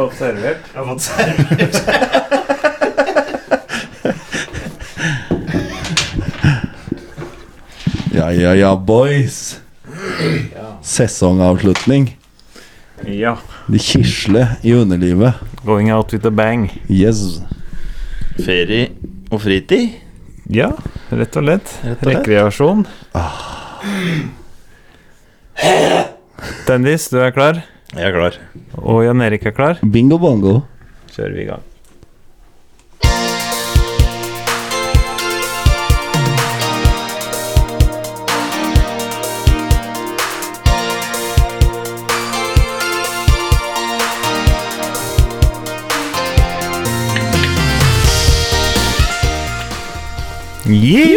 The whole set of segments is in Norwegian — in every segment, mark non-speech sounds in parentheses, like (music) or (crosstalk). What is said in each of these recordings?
fått servert. Jeg har fått servert. Ja, ja, ja, boys. Sesongavslutning. Ja. De kisler i underlivet. Going out with a bang. Yes. Ferie og fritid. Ja, rett og slett. Rett og Ah. slett. Rekreasjon. Dennis, du er klar? Jeg er klar. Og Jan Erik er klar? Bingo bongo. Kjører vi i gang.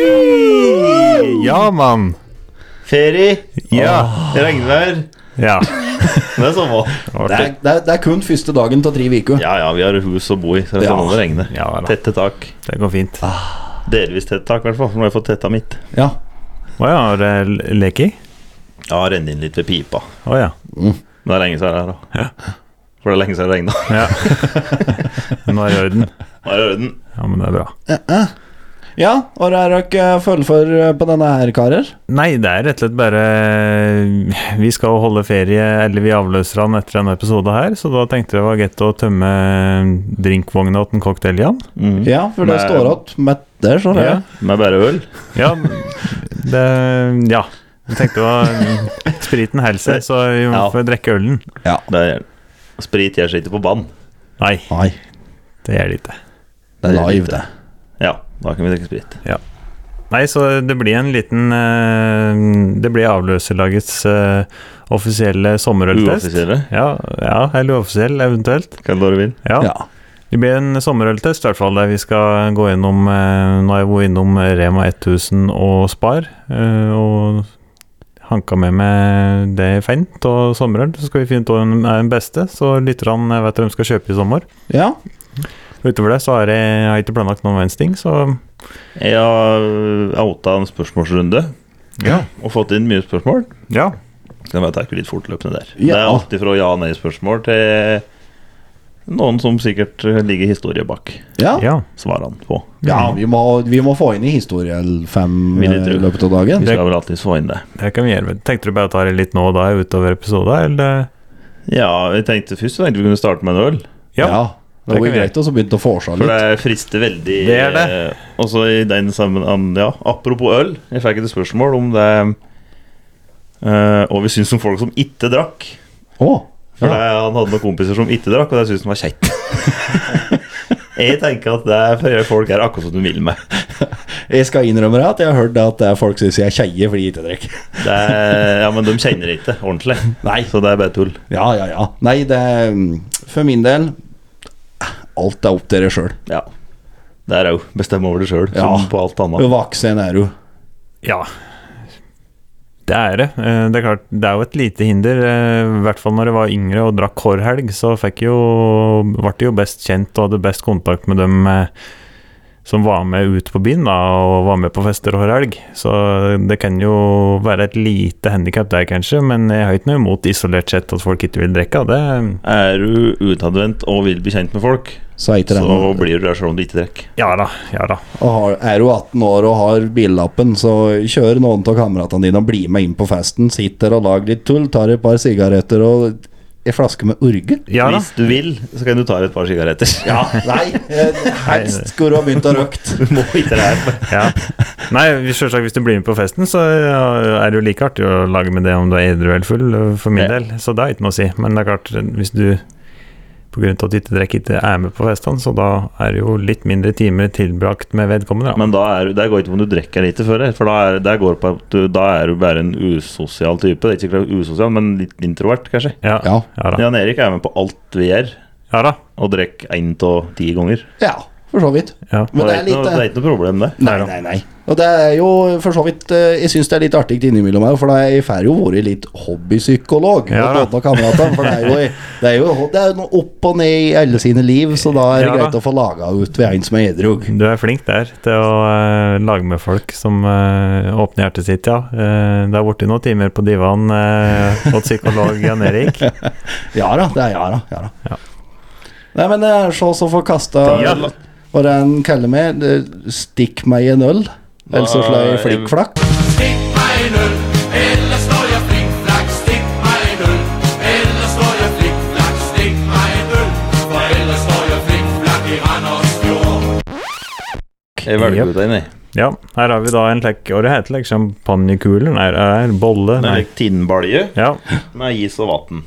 Yeah! Ja, mann. Ferie, Ja. regnvær. ja. Det er samme. Det er, det, er, det er kun første dagen av tre uker. Ja ja, vi har hus å bo i, så det er Ja. samme om det regner. Ja da. Tette tak. Det går fint. Å Delvis tett tak, i hvert fall. for Nå har jeg fått tetta mitt. Ja. ja, har det leke i? Ja, renner inn litt ved pipa. Å ja. Men det er lenge siden jeg er her, da. For det er lenge siden det regna. (laughs) ja. Nå er det i orden. Nå er det orden. Ja, men det er bra. Ja, og det er dere følge for eh, på denne her, karer? Nei, det er rett og slett bare eh, Vi skal jo holde ferie, eller vi avløser han etter denne episoden her, så da tenkte jeg det var greit å tømme drinkvogna til en cocktail igjen. Mm. Ja, for det Nei. står igjen med der, så det. Ja. Med bare øl. Ja, det Ja. Jeg tenkte det var Spriten holder seg, så vi må Ja. få drikke ølen. Det er sprit jeg sitter på banen. Nei, Nei, det gjør det ikke. det er Det er live, lite. det. Ja, da kan vi drikke sprit. Nei, så det blir en liten eh, Det blir avløserlagets eh, offisielle sommerøltest. Uoffisielle. Ja, ja, eller uoffisiell, eventuelt. Kan du vil. Ja. Ja. Det blir en sommerøltest, i hvert fall, der vi skal gå innom eh, Nå har jeg vært innom Rema 1000 og Spar, eh, og hanka med meg det jeg fant av sommerøl. Så skal vi finne ut hva som er den beste, så lytterne vet hva de skal kjøpe i sommer. ja. Utover det så har jeg, jeg har ikke planlagt noen verdens ting, så Jeg har eh, outa en spørsmålsrunde Ja. og fått inn mye spørsmål. Ja. Kan bare takke litt fortløpende der. Ja. Det er alltid fra ja- og nei-spørsmål til noen som sikkert ligger historie bak ja. ja. svarene på. ja vi, må, vi må få inn i historiel fem Vil eh, jeg tro. i løpet av Vi dagen. skal vel alltid få inn det. Det kan vi gjøre. men Tenkte du bare å ta det litt nå og da utover episoden, eller? Ja, jeg tenkte først så tenkte vi kunne starte med en øl. Ja. Det Det var kan vi greit også å begynne å få seg litt. For det frister veldig. Det er det. eh, Også i den sammen Ja, apropos øl. Jeg fikk et spørsmål om det eh, Og vi syns om folk som ikke drakk. Å, For Ja. det, han hadde noen kompiser som ikke drakk, og det syntes han var kjekt. (laughs) jeg tenker at det er for folk er akkurat som du vil med. jeg skal innrømme det at jeg har hørt det at det er folk syns jeg er keie fordi jeg ikke drikker. (laughs) Det er, ja, Men de kjenner ikke ordentlig, Nei. så det er bare tull. Ja, ja, ja. Nei, det er mm, For min del Alt er opp til dere sjøl. Ja. Det er òg. Bestem over det sjøl, Ja. som på alt annet. Vaksen er du. Ja. Det er det. Eh, Det er klart, det er jo et lite hinder. eh, I hvert fall når jeg var yngre og drakk hver helg, så fikk jeg jo Ble jeg jo best kjent og hadde best kontakt med dem eh, som var med ut på byen da, og var med på fester hver helg. Så det kan jo være et lite handikap der, kanskje, men jeg har ikke noe imot isolert sett at folk ikke vil drikke. Det Er du utadvendt og vil bli kjent med folk, Så er ikke det så noe. blir du der sjøl om du ikke drikker. Ja da, ja da. Og har, er du 18 år og har billappen, så kjør noen av kameratene dine og bli med inn på festen. Sitter og lager litt tull, tar et par sigaretter og ei flaske med urge. Ja da. Hvis du vil, så kan du ta deg et par sigaretter. Ja, (laughs) nei, eh, helst skulle du ha begynt å røkt. (laughs) Du må ikke det her. Ja. Nei, hvis- selvsagt hvis du blir med på festen, så ja, er det jo like artig å lage med det om du er edru eller full, ø, for min Ja. del. Så det er ikke noe å si. Men det er klart, hvis du på grunn av at du ikke drikker, ikke er med på festene, så da er det jo litt mindre timer tilbrakt med vedkommende. Da. Men da er, du- der går ikke om du drikker lite før, for da er, der går på at du, da er du bare en usosial type. Det er ikke klart usosial, men litt introvert, kanskje. Ja, ja. Ja. da. Jan Erik er med på alt vi gjør, Ja da. og drikker én av ti ganger. ja, for så vidt. Ja. Men det er ikke noe, det litt eh, er ikke noe problem, det. Nei, nei, nei. Og det er jo for så vidt eh, Jeg syns det er litt artig innimellom òg, for jeg får jo vært litt hobbypsykolog. Ja, da. mot noen av kameratene, for det er jo, det er jo det er jo noe opp og ned i alle sine liv, så da er det Ja, da. greit å få laga ut ved en som er edru. Du er flink der til å ø, lage med folk som ø, åpner hjertet sitt, ja. Eh, det er borti noen timer på (laughs) divaen uh, hos psykolog Jan Erik. Ja da, det er ja da. Ja, da. Nei, men det er så som får kasta Ja. Hva er det han kaller meg? Det- Stikk meg i en øl. Eller så slår jeg Nei, flikkflakk. Stick mig i null, eller slår jag flickflack Stick mig i null, eller slår jag flickflack Stick mig i null, för eller slår jag flickflack i Randers fjord Jeg velger ut en, jeg. Ja, her har vi da en lekk Og det heter like champagnekuler Nei, er bolle Det er Nei. litt tinnbalje Ja, med is og vann.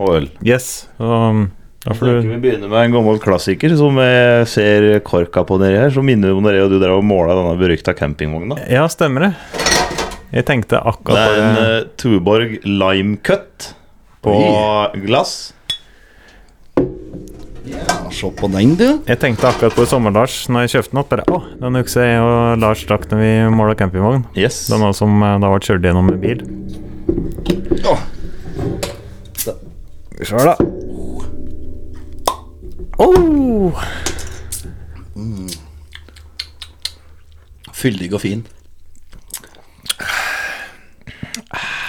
Og øl. yes um, da får Jeg du tenker Vi begynner med en gammel klassiker som jeg ser korka på nedi her. Som minner om når jeg og du drev og måla denne berykta campingvogna. Ja, stemmer det Jeg tenkte Det akkurat er på en det eh, Tuborg Lime Cut på glass. Ja, Se på den, du. Jeg tenkte akkurat på Sommer-Lars Når jeg kjøpte den opp Bare, å, den hukse jeg og Lars drakk Når vi målet campingvogn Yes. Den var som eh, da ble kjørt gjennom med bil Åh, Sjøl da Åh Fyldig og fin.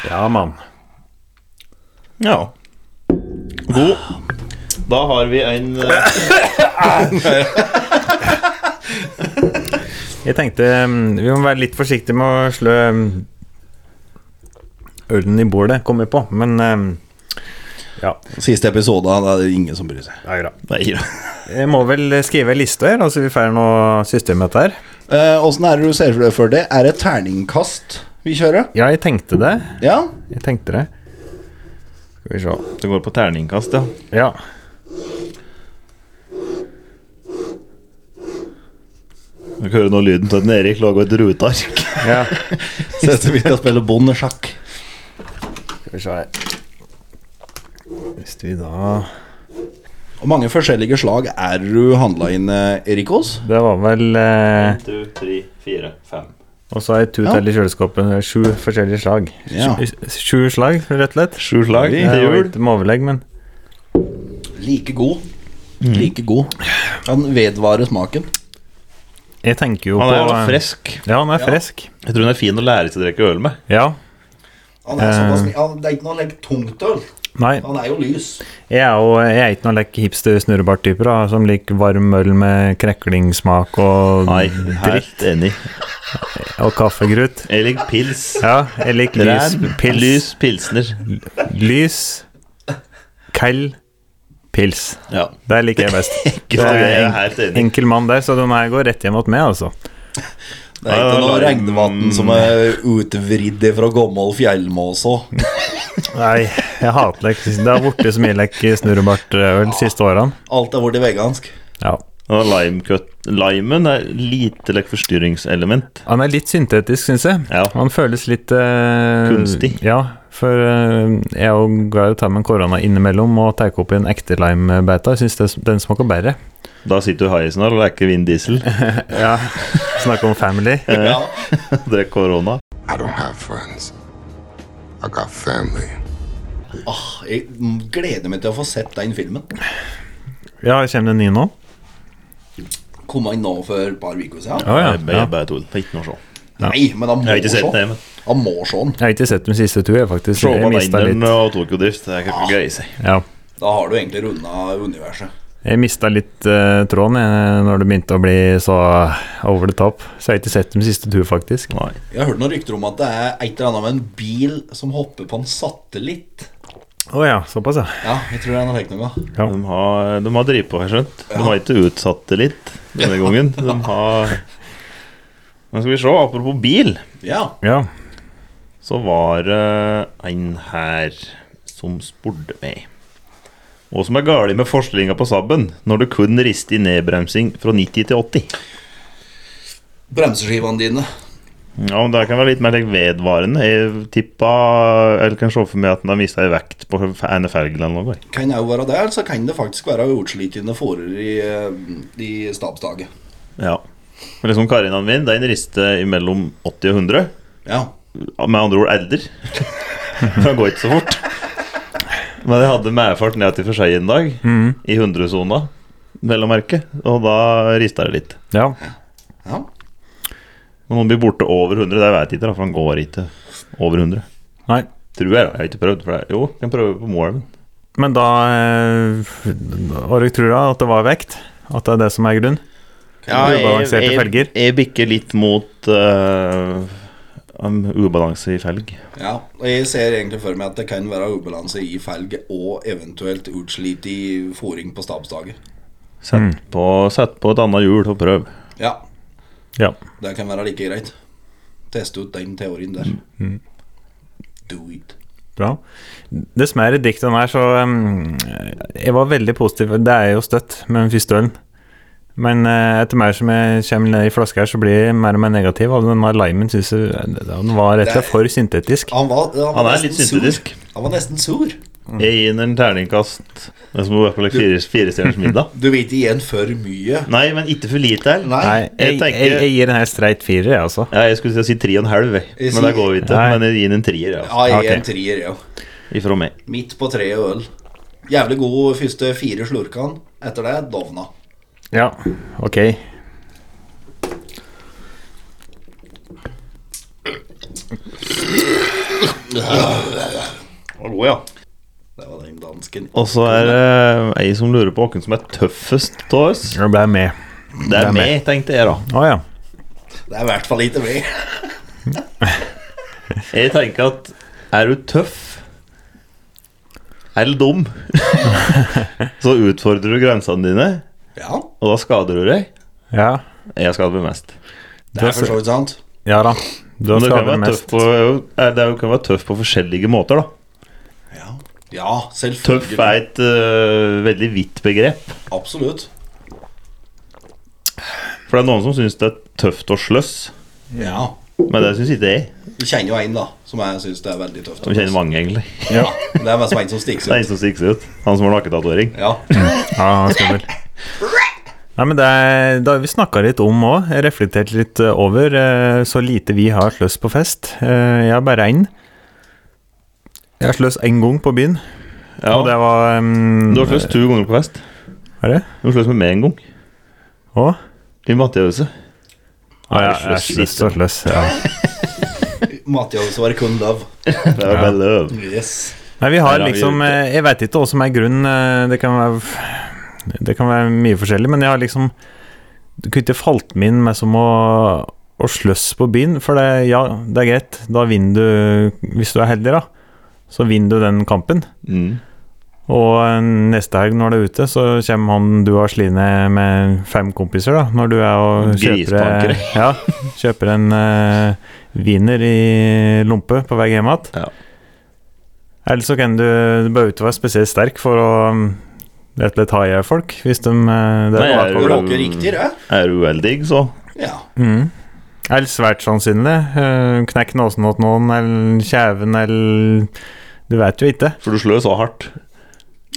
Ja, mann Ja. God. Da har vi en eh, Jeg tenkte mm, vi må være litt forsiktige med å slø mm, ølen i bordet, kom vi på, men mm, ja, Siste episode, da er det ingen som bryr seg. det er bra. Nei, ja. Jeg må vel skrive ei liste her, altså vi får noe system etter her. Eh, Åssen er det du ser for deg for det? Er det terningkast vi kjører? Ja, jeg tenkte det. (laughs) Ja? Jeg tenkte det. Skal vi se. Det går på terningkast, ja. Ja. Du hører nå lyden av at Erik lager et ruteark. ja. Ser ut som vi skal spille bondesjakk. Skal vi se her. Hvis vi da Hvor mange forskjellige slag er det du handla inn, eh, Erik Aas? Det var vel eh, En, to, tre, fire, fem. også ei tut Ja. til i kjøleskapet. Sju forskjellige slag. Ja. Sju, sju slag, rett og slett. Sju slag Det til var jul. ikke med overlegg, men Like god. Like god. Han vedvarer smaken. jeg tenker jo Han er på jævla eh, frisk. Ja, han er frisk. Jeg tror han er fin å lære seg å drikke øl med. Ja. Han er såpass, han, det er ikke noe like, tungt øl. Nei, Han er jo lys. jeg er jo jeg er ikke noen like hipster snurrebart-typer da, som liker varm øl med kreklingsmak og, Nei, helt enig. og kaffegrut. Jeg liker pils. Ja, jeg liker lys, Ræv, pils, Lys pilsner. lys, kald pils. Ja. Det liker jeg best. (laughs) Ikke noe jeg er helt enig. Enkel mann der, så de her går rett hjem mot meg, altså. Det er ikke Ja, noe larm. regnvann som er utvridd fra gammel fjellmåse. Nei, jeg hater lek. Det har blitt så mye lek snurrebart-øl eh, de siste årene. Alt er blitt vegansk. Ja. Og lime cut. Limen er lite like, forstyrringselement. Han er litt syntetisk, syns jeg. Ja. Han føles litt eh, Kunstig. Ja, for eh, jeg er jo glad i å ta med en korona innimellom og ta opp i en ekte lime-beta. Jeg syns den smaker bedre. Da sitter du heisen her og leker Vin Diesel. (laughs) Ja. Snakke om family. Ja. Drikker korona. I don't have friends. I got family. Ah, jeg gleder meg til å få sett den filmen. Ja, kommer det en ny nå? Kom inn nå for et par uker siden. Å ja. Jeg bare- ja. jeg bare tull. Det er ikke noe å se. Nei, men han Jeg har må ikke se sett det, den. men Han må se den. Jeg har ikke sett de siste to, jeg, faktisk. Se på Jeg mista Linderen litt. og Tokyo Drift. Det er ikke gøy å si. Ja. Da har du egentlig runda universet. Jeg mista litt eh, tråden jeg, når det begynte å bli så over the top. Så jeg har ikke sett de siste to, faktisk. Nei. Jeg har hørt noen rykter om at det er et eller annet med en bil som hopper på en satellitt. Å ja, såpass, ja. Ja, jeg tror det er noe slikt noe. De har, de har drevet på, har jeg skjønt. De har ikke utsatt det litt denne gangen. De har Men skal vi se, apropos bil, Ja. Ja. så var det en her som spurte meg hva som er galt med forslinga på Saben når du kun rister i nedbremsing fra 90 til 80? Bremseskivene dine. Ja, men Det kan være litt mer like, vedvarende. Jeg tippa Eller kan se for meg at den har mista ei vekt på en felg eller noe. Kan jo være det, eller så kan det faktisk være utslitende fòrer i, eh, i stabstaket. Ja. Men liksom Karinaen min, den rister imellom 80 og 100. Ja. med andre ord elder. (laughs) Det går ikke så fort. Men jeg hadde medfart ned til Forsei en dag, Mm. i 100-sona, vel å merke. Og da rista det litt. ja. ja. Om noen blir borte over 100, det vet jeg ikke, da, for han går ikke over 100. Nei. Tror jeg, da. Jeg har ikke prøvd. For det. Jo, jeg kan prøve på Moelven. Men da eh, Org tror da at det var vekt? At det er det som er grunnen? Ja, Ubalanserte jeg, jeg, felger. jeg bikker litt mot eh, um, ubalanse i felg. Ja, og jeg ser egentlig for meg at det kan være ubalanse i felg og eventuelt utslitt i fòring på stabsdager. Sett, Mm. på, sett på et annet hjul og prøv. Ja, Ja. det kan være like greit. Teste ut den teorien der. Mm. Do it. Bra. Dessverre mer i diktene her, så um, Jeg var veldig positiv. Det er jo støtt med den første ølen. Men eh, etter mer som jeg kommer ned i flaska her, så blir jeg mer og mer negativ. Og den her limen synes jeg eh, den var rett og slett for syntetisk. Han var, han var Han er nesten litt syntetisk. Sur. Han var nesten sur. Jeg gir den en terningkast men som er på like fire, fire stjerners middag. Du vet igjen for mye. Nei, men ikke for lite heller. Nei. Nei, jeg, jeg jeg, tenker- jeg gir den her streit firer, jeg, altså. Ja, jeg skulle til å si tre og en halv, jeg. Jeg men det sier- går vi ikke. Nei. Men jeg gir den en trier, ja. Ja, jeg er Ok. en trier, ja. Ifra meg. Midt på treet og øl. Jævlig god første fire slurkene. Etter det dovna. Ja, ok. Det var den dansken. Og så er det ei som lurer på hvem som er tøffest av oss. Da ble jeg med. Det er meg, tenkte jeg, da. Å ja. Det er i hvert fall ikke meg. Jeg tenker at er du tøff eller dum, så utfordrer du grensene dine, Ja, og da skader du deg. Ja, Jeg skader meg mest. det er for så vidt sant. ja da. Du har Men du kan skadet være tøff mest. på, eh, det er jo- kan være tøff på forskjellige måter, da. Ja, ja Tøff selvfølgelig. er et eh, veldig vidt begrep. Absolutt. For det er noen som syns det er tøft å sløss, Ja. men det syns ikke jeg. Du kjenner jo en, da, som jeg syns det er veldig tøft. Som kjenner mange, egentlig. Ja, det er mest en som stikker (laughs) Det er seg en ut. som stikker seg ut. Han som har nakketatovering. Ja. Ja, han er skummel. Nei, men det er, det har vi snakka litt om òg. Reflektert litt eh, over eh, så lite vi har sløss på fest. Eh, Jeg har bare én. Jeg har sløss én gang på byen, og det Ja, var um, du har sløss to ganger på fest. Er det? Du har sløss med meg en gang. Å? I Mathiahuset. Ah, ja, Sløss jeg sløss og sløss. Ja. Mathias var kun love. Det er bare løv. Yes. Nei, vi har Her har vi liksom gjort det. eh, Jeg veit ikke hva som er grunnen. eh, Det kan være Det kan være mye forskjellig, men jeg har liksom Du kunne ikke falt meg inn med som å å sløss på byen, for det, ja, det er greit. Da vinner du, hvis du er heldig, da, så vinner du den kampen. Mm. Og eh, neste helg når du er ute, så kommer han du har slitt ned med fem kompiser, da, når du er og kjøper, eh, Grisebankere. ja, kjøper en eh, wiener i lompe på vei hjem igjen. Ja. Eller så kan du, du behøver ikke være spesielt sterk for å um, rett og slett ha i hjel folk, hvis de eh, det Nei, er Du jeg er bakpå. jo- råker riktig, det. Er du uheldig, så Ja. Mm. Eller svært sannsynlig. eh, Knekk nåsen åt noen, eller kjeven, eller Du vet jo ikke. For du slår så hardt.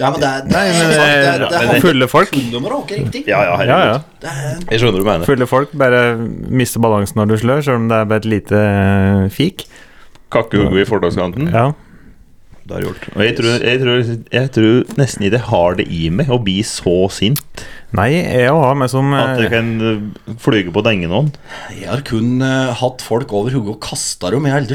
ja, men det er Nei, men det, er- det, eh, er- det, er- Fulle folk. kun om å råke riktig. Ja, ja, Ja, ja. Det er Jeg skjønner du mener. Fulle folk bare mister balansen når du slør, selv om det er bare et lite eh, fik. Kakkehugge i fortauskanten. Ja. Det er gjort. Og jeg tror, jeg, tror, jeg tror nesten ikke jeg har det i meg å bli så sint Nei, jeg òg har meg som at jeg eh, kan øh, flyge på denge noen. Jeg har kun eh, hatt folk over hodet og kasta dem. Jeg har aldri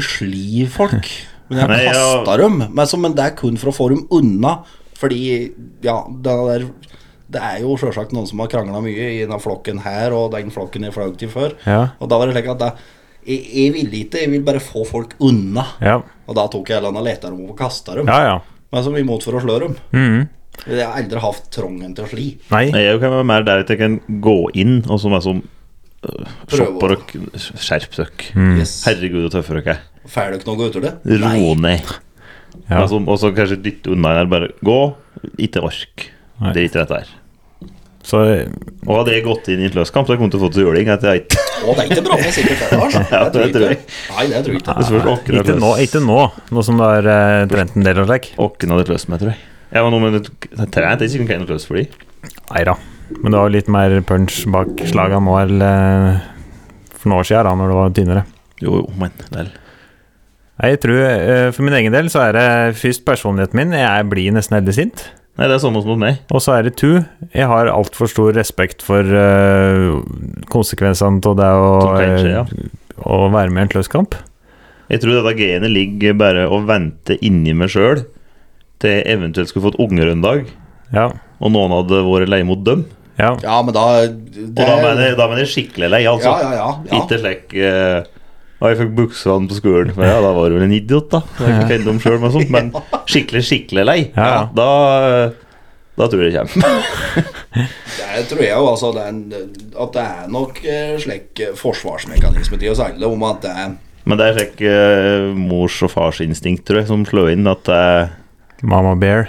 (laughs) sli folk. Men jeg Nei, har jeg- kasta dem. Men, så, men det er kun for å få dem unna. Fordi, ja, det er, det er jo sjølsagt noen som har krangla mye i den flokken her og den flokken jeg fløy til før. Ja. Og da var det slik at da- jeg, jeg ville ikke, jeg ville bare få folk unna. Ja, Og da tok jeg hele og leta dem og kasta dem. ja. ja. Men som imot for å slå dem. Mhm. Jeg har aldri hatt trongen til å sli. Nei. Nei, Jeg kan være mer der at jeg kan gå inn og som er som Prøve å- Skjerp dere. Skjerp dere. Mm. Yes. Herregud, så tøffe dere er. Får dere noe ut av det? Mm. Ro ned. Ja. Altså, og så kanskje dytte unna en her. Bare gå. Ikke ork. Nei. Drit i dette her. Så eh, Og hadde jeg gått inn i en sløskamp, så hadde jeg kommet til å fått så juling. At jeg ikke Å, det er ikke bra med sikkert det, altså. Lars. (laughs) Ja, det tror jeg. Nei, det tror jeg ikke. Det spørs åkken Ikke nå, ikke nå, nå som du har eh, trent en del og slik. Åkken hadde løst meg, tror jeg. Jeg var noe med det trent, jeg kunne ikke løst for de. Nei da. Men du har jo litt mer punch bak slaga nå enn eh, for noen år siden, da når du var tynnere. Jo, jo, men det er Nei, Jeg tror, eh, For min egen del så er det eh, først personligheten min. Jeg blir nesten veldig sint. Nei, det er samme som mot meg. Og så er det to. Jeg har altfor stor respekt for eh, konsekvensene av det å, Som kan skje, ja. eh, å være med i en kløsskamp. Jeg tror dette genet ligger bare og venter inni meg sjøl til eventuelt skulle fått unger en dag, Ja. og noen hadde vært lei mot dem. ja. Ja, men da det, Og da mener jeg, da mener jeg skikkelig lei, altså. Eh. Ja, ja, ja, ja. Ikke slik eh, «Å, jeg fikk buksene på skolen. Men ja, da var du vel en idiot, da. Jeg har ikke kjent om selv, men, sånt, men skikkelig, skikkelig lei. Ja, ja. Da, eh, da tror jeg det kommer. Det tror jeg jo, altså. Det er en, at det er nok eh, slik eh, forsvarsmekanisme til oss alle om at det er Men det er slik eh, mors og fars instinkt, tror jeg, som slår inn at eh, Mama Bear.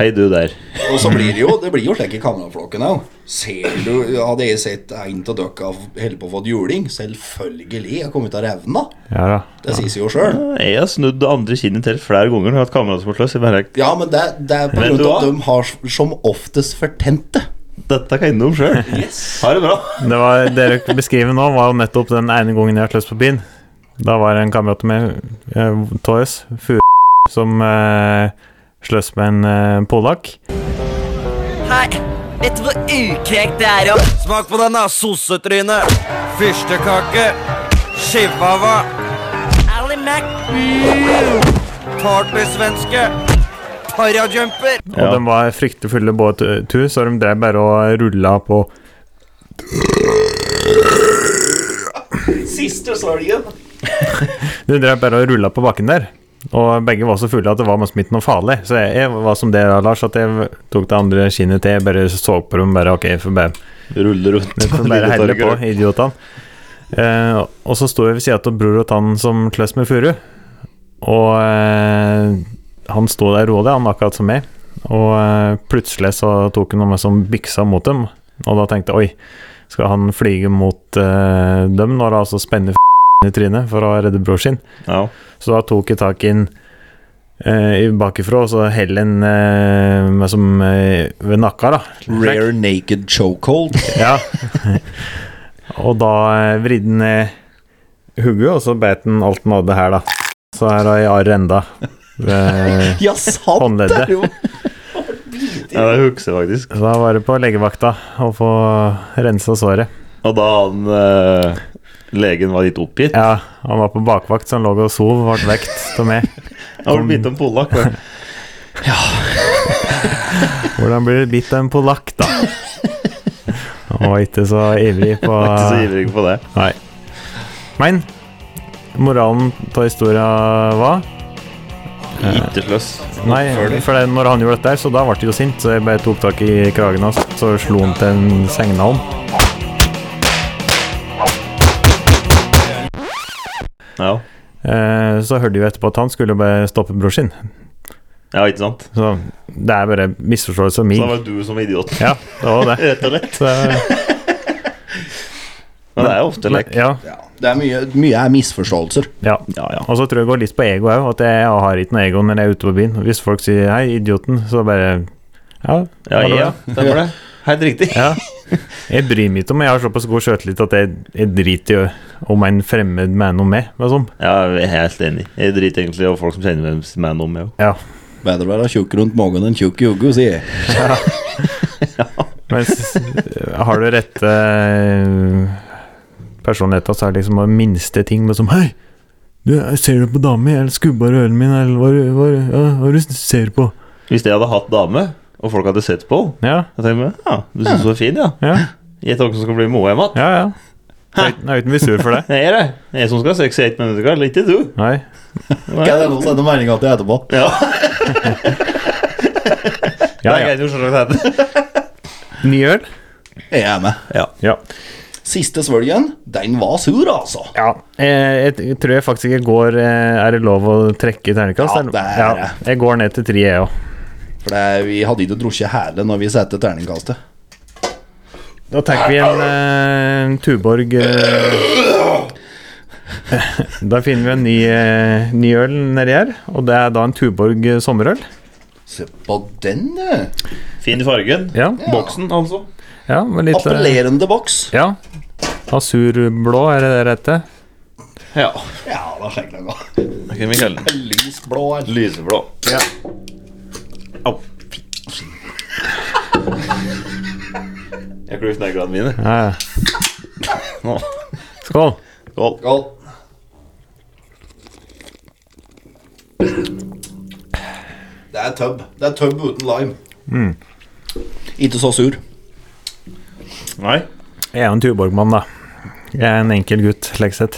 Hei, du der. Og så blir det jo Det blir jo slik i kameraflokken òg. Ser du Hadde jeg sett en av dere holde på å få et juling, selvfølgelig. Jeg kom ut av revna. Ja da. Det sies jo sjøl. Jeg har snudd det andre kinnet til flere ganger når jeg har hatt kameraet som har slåss. Jeg bare Ja, men det, det er på Vet grunn du av at hva? de har som oftest fortent det. Dette kan jeg innom sjøl. Ha det bra. Det var, dere beskriver nå, var jo nettopp den ene gangen jeg har sløst på byen. Da var det en kamerat med eh, Toys, Fure, som eh, sløs med en eh, polakk. Hei, vet du hvor ukrekt det er å Smak på den, da, sossetryne. Fyrstekake. Chihuahua. Ally Mac Partysvenske. Parajumper. Og de var fryktelig fulle både to, så de drev bare og rulla på Siste sorgen. (laughs) De drev bare og rulla på bakken der. Og begge var så fulle at det var mest midt noe farlig. Så jeg, jeg var som det, Lars, at jeg tok det andre kinnet til. Jeg bare så på dem, bare OK, jeg får bare Ruller rundt Jeg på får bare lille helle på, torget. idiotene. Eh, og så sto jeg ved siden av bror og tann som kløss med furu. Og eh, han sto der rolig, han akkurat som meg. Og eh, plutselig så tok han meg som byksa mot dem. Og da tenkte jeg oi, skal han flyge mot eh, dem når han altså spenner f***en i trynet for å redde bror sin? Ja. Så da tok jeg tak i den eh, i bakifra, og så hell en eh, meg som eh, ved nakka, da. Rare naked chokehold. Ja. (laughs) og da eh, vridde han ned hugget, og så beit han alt han hadde her, da. Så her har jeg arr enda. Eh, (laughs) (laughs) Ja, sant det! Håndleddet. er jo ja, det husker jeg faktisk. Så da var det på legevakta å få rensa såret. Og da han eh, legen var litt oppgitt Ja, han var på bakvakt, så han lå og sov, ble vekt av meg. Han ble bitt av en polakk. vel? Hvordan blir du bitt av en polakk, da? Han var ikke så ivrig på Jeg er Ikke så ivrig på det. Nei. Men moralen av historia var Ikke sløss. Nei, for det, når han gjorde dette, her, så da ble jeg jo sint, så jeg bare tok tak i kragen hans, så slo han til en sengnavn. Ja. Eh, så hørte jeg jo etterpå at han skulle bare stoppe bror sin. ja, ikke sant? Så det er bare misforståelse av Så min. da var det du som var idioten, Ja, det var (laughs) det. rett og slett. Så, Men det er jo ofte lek. ja, ja, Det er mye, mye er misforståelser. ja. Ja, ja. Og så tror jeg det går litt på ego òg, at jeg har ikke noe ego når jeg er ute på byen. Hvis folk sier 'hei, idioten', så bare Ja, Ja, ha det bra. ja, stemmer det. Helt riktig. Ja. Jeg bryr meg ikke om jeg har såpass god sjøltillit at jeg, jeg driter i om en fremmed mener noe med. Liksom. Ja, jeg er helt enig. Jeg driter egentlig i folk som kjenner meg- meg noe med. Ja. Bedre å være tjukk rundt magen enn tjukk i hodet, sier jeg. Men s- har du rette eh, personligheten, så er det liksom bare minste ting med som Hei! Du, jeg ser du på dama mi? Eller skubba du ølen min? Eller hva, du- hva, du- ja, hva du ser du på? Hvis jeg hadde hatt dame, og folk hadde sett på henne, Ja, da tenker jeg ja, du syns hun er fin, ja. ja, Gjett hvem som skal bli moe hjemme igjen. ja. ja. Jeg er ikke- jeg er ikke misunnelig for det. Det er det. Jeg som skal ha sex i ett minutt, eller ikke du. Nei. Hva er det nå sender meldinga til etterpå? Ja, det Ja, er ja. greit, jo selvsagt hende. Ny øl? Jeg er med. Ja. Ja. Siste svølgen, den var sur, altså. ja. Eh, Jeg, t- tror jeg faktisk jeg går eh, Er det lov å trekke i terningkast? Ja, eller? det er ja, Jeg går ned til tre, jeg òg. For det, vi hadde ikke drukket hele når vi satte terningkastet. Da tenker vi en eh, Tuborg eh, Da finner vi en ny, eh, ny øl nedi her, og det er da en Tuborg eh, sommerøl. Se på den, eh. du. Fin fargen. Ja, Boksen, altså. ja med litt eh, Appellerende boks. Ja. Asurblå, er det det det heter? Ja. Ja, da skjenker jeg meg. Det kan vi kalle den. Lysblå eh. her. Lyseblå. Ja. Au. Jeg klør sneglene mine. Ja. ja. Nå. Skål. Skål. Skål. er tøbb. Det er tøbb uten lime. Ikke så sur. Nei. Jeg er jo en Tuborg-mann, da. Jeg er en enkel gutt, slik sett.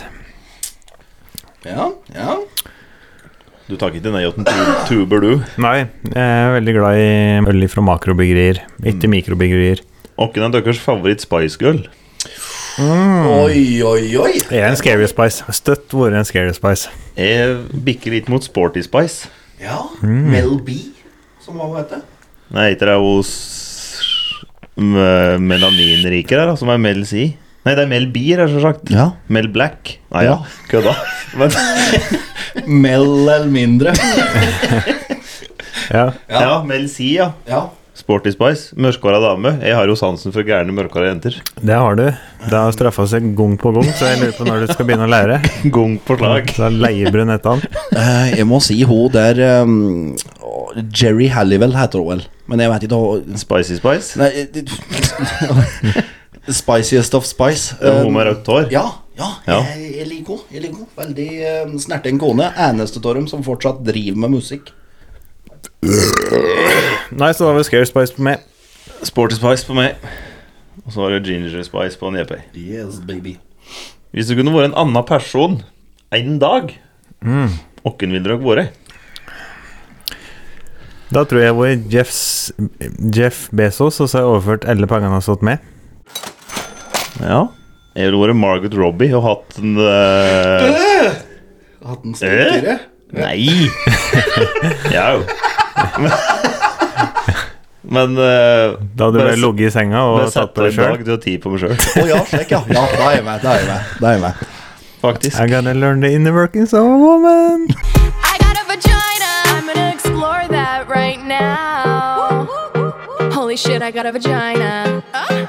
Ja, ja. Du tar ikke til nei åt en tu- tuber, du. Nei, jeg er veldig glad i øl fra makrobryggerier, ikke mikrobryggerier. Åkken er deres favoritt Spice Girl. Oi, oi, oi. Jeg er en Scary Spice. Støtt vært en Scary Spice. Jeg bikker litt mot Sporty Spice. Ja. Mel B, som hva hun heter. Nei, heter det jo s- m- melaninriker her, da, som er Mel C. Nei, det er Mel Bier, her, selvsagt. Ja. Mel Black. Nei, ja. Ja. Kødda. Men, Mell eller mindre. Ja. ja. Mel C, ja. Ja. Sporty Spice. Mørkhåra dame. Jeg har jo sansen for gærne mørkhåra jenter. Det har du. Det har straffa seg gang på gang, så jeg lurer på når du skal begynne å lære. Gong på slag. Så leiebrun etter han. Eh, jeg må si hun der ehm, å, Jerry Halliwell heter hun vel. Men jeg vet ikke hva Spicy Spice. Nei eh, (laughs) Spiciest of spice. Eh, Det er hun med rødt hår. Ja. ja, Ja. Jeg, jeg liker henne. Jeg liker henne. Veldig um, snerten kone. Eneste av dem som fortsatt driver med musikk. Nei, så da var det Scary Spice på meg. Sporty Spice på meg. Og så har du Ginger Spice på en JP. Yes, baby. Hvis du kunne vært en annen person en dag, Mm. åkken ville dere vært? Da tror jeg jeg var Jeffs, Jeff Bezos, og så har jeg overført alle pengene han har stått med. Ja. Jeg ville vært Margaret Robbie og hatt en eh, Hatt en sterkere. Nei! (laughs) Jau. Men eh, Da hadde du bare bare ligget i senga og bare tatt sette på deg en sjøl. dag til å ti på meg sjøl, Å ja, slik, ja. Ja, da er jeg med. Da er jeg med. Da er jeg med. (laughs) faktisk. I (laughs) gotta learn the inner workings of a woman. I got a vagina. I'm gonna explore that right now. Holy shit, I got a vagina. Uh,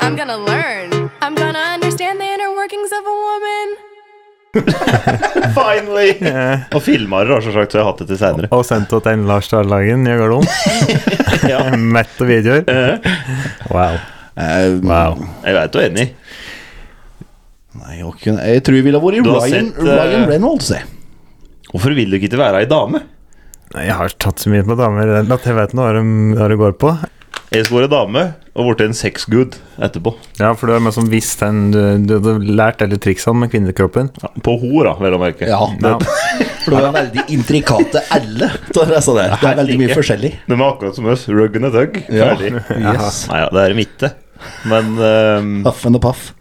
I'm gonna learn. I'm gonna understand the inner workings of a woman. Finally! Og filmer har selvsagt, så jeg har hatt det til seinere. Og sendt til en Lars Dahlagen i Gardermoen. (laughs) Ja. (laughs) Mett av videoer. Wow. Eh, wow. Jeg veit du er enig. Nei, jeg, kunne- jeg tror jeg ville vært Du har Ryan, sett, eh, Ryan Reynolds, jeg. Hvorfor vil du ikke være ei dame? Nei, Jeg har tatt så mye på damer at jeg vet nå hva de- hva det går på. Jeg skulle vært dame og blitt en sexgood etterpå. Ja, for du har liksom visst den Du, du hadde lært alle triksene sånn med kvinnekroppen. Ja, På hor, da, vel å merke. Ja, Ja. for det er veldig intrikate alle. (laughs) Det er, sånn der. det er veldig mye forskjellig. De er akkurat som oss. Rug and a tug. Ja. Ferdig. Yes. Nei ja, det er i midte. Men ehm, Paff and paff.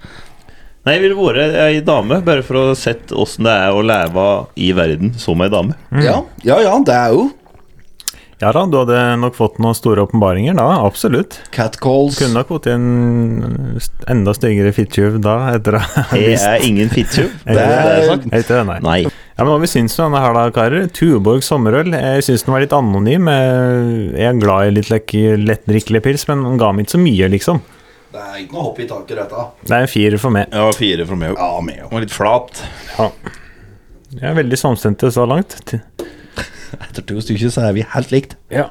Nei, jeg ville vært ei dame, bare for å ha sett åssen det er å leve i verden som ei dame. Ja, ja, ja, det er jo Ja da, du hadde nok fått noen store åpenbaringer da, absolutt. catcalls. Kunne nok fått en st- enda styggere fittyv da, etter å ha Jeg visst er ingen (laughs) fittyv. Det er- Jeg vet ikke, nei. Nei. Ja, men Hva vi syns du om denne her da, karer? Tuborg sommerøl. Jeg syns den var litt anonym. eh, Jeg er glad i litt like, lettdrikkelig pils, men den ga meg ikke så mye, liksom. Det er ikke noe hopp i taket, dette. Det er en firer for meg. Jeg var fire fra meg Ja, med jo. var litt flat. Jeg er veldig samstemte så langt. T- Etter to stykker så er vi helt likt. Ja.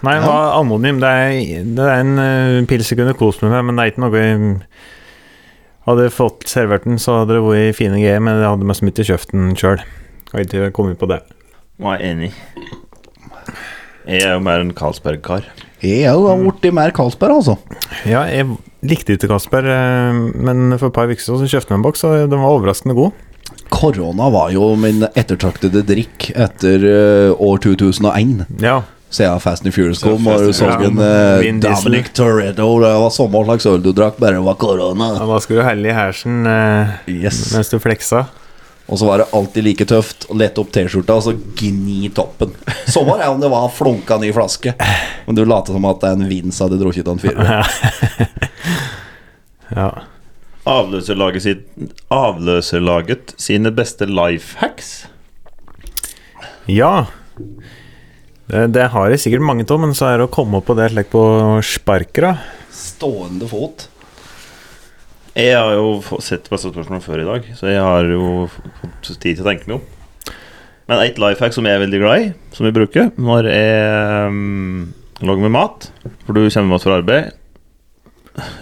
Nei, den var anonym. Det er, det er en eh, pils jeg kunne kost meg med, men det er ikke noe jeg- Hadde jeg fått servert den, så hadde det vært fine greier, men jeg hadde meg smitt i kjeften sjøl. Har ikke kommet på det. Var jeg enig. Jeg er jo mer en Carlsberg-kar. Jeg har jo blitt mer Carlsberg, altså. Ja, jeg likte ikke Kasper, eh, men for et par uker siden så kjøpte jeg en boks, og den var overraskende god. Korona var jo min ettertraktede drikk etter eh, år 2001. Ja, Siden Fast and Furious kom, Fast og du and så Furious. en Ja, eh, Vin Diesel. Dominic Toretto. Det var samme slags øl du drakk, bare det var korona. Ja, da skal du helle i hersen eh, Yes. mens du fleksa. Og så var det alltid like tøft å lette opp T-skjorta og så gni toppen. Sånn var det om det var flunka ny flaske. Men du later som at det er en vins hadde drukket av en fyr. Ja. Avløserlaget, sitt, avløserlaget sine beste life hacks. ja. Det, det har jeg sikkert mange av, men så er det å komme opp på det slik på sparker, da. Stående fot. Jeg har jo få- sett masse spørsmål før i dag, så jeg har jo fått tid til å tenke meg om. Men et life hack som jeg er veldig glad i, som jeg bruker når jeg um, lager meg mat For du kommer med oss fra arbeid,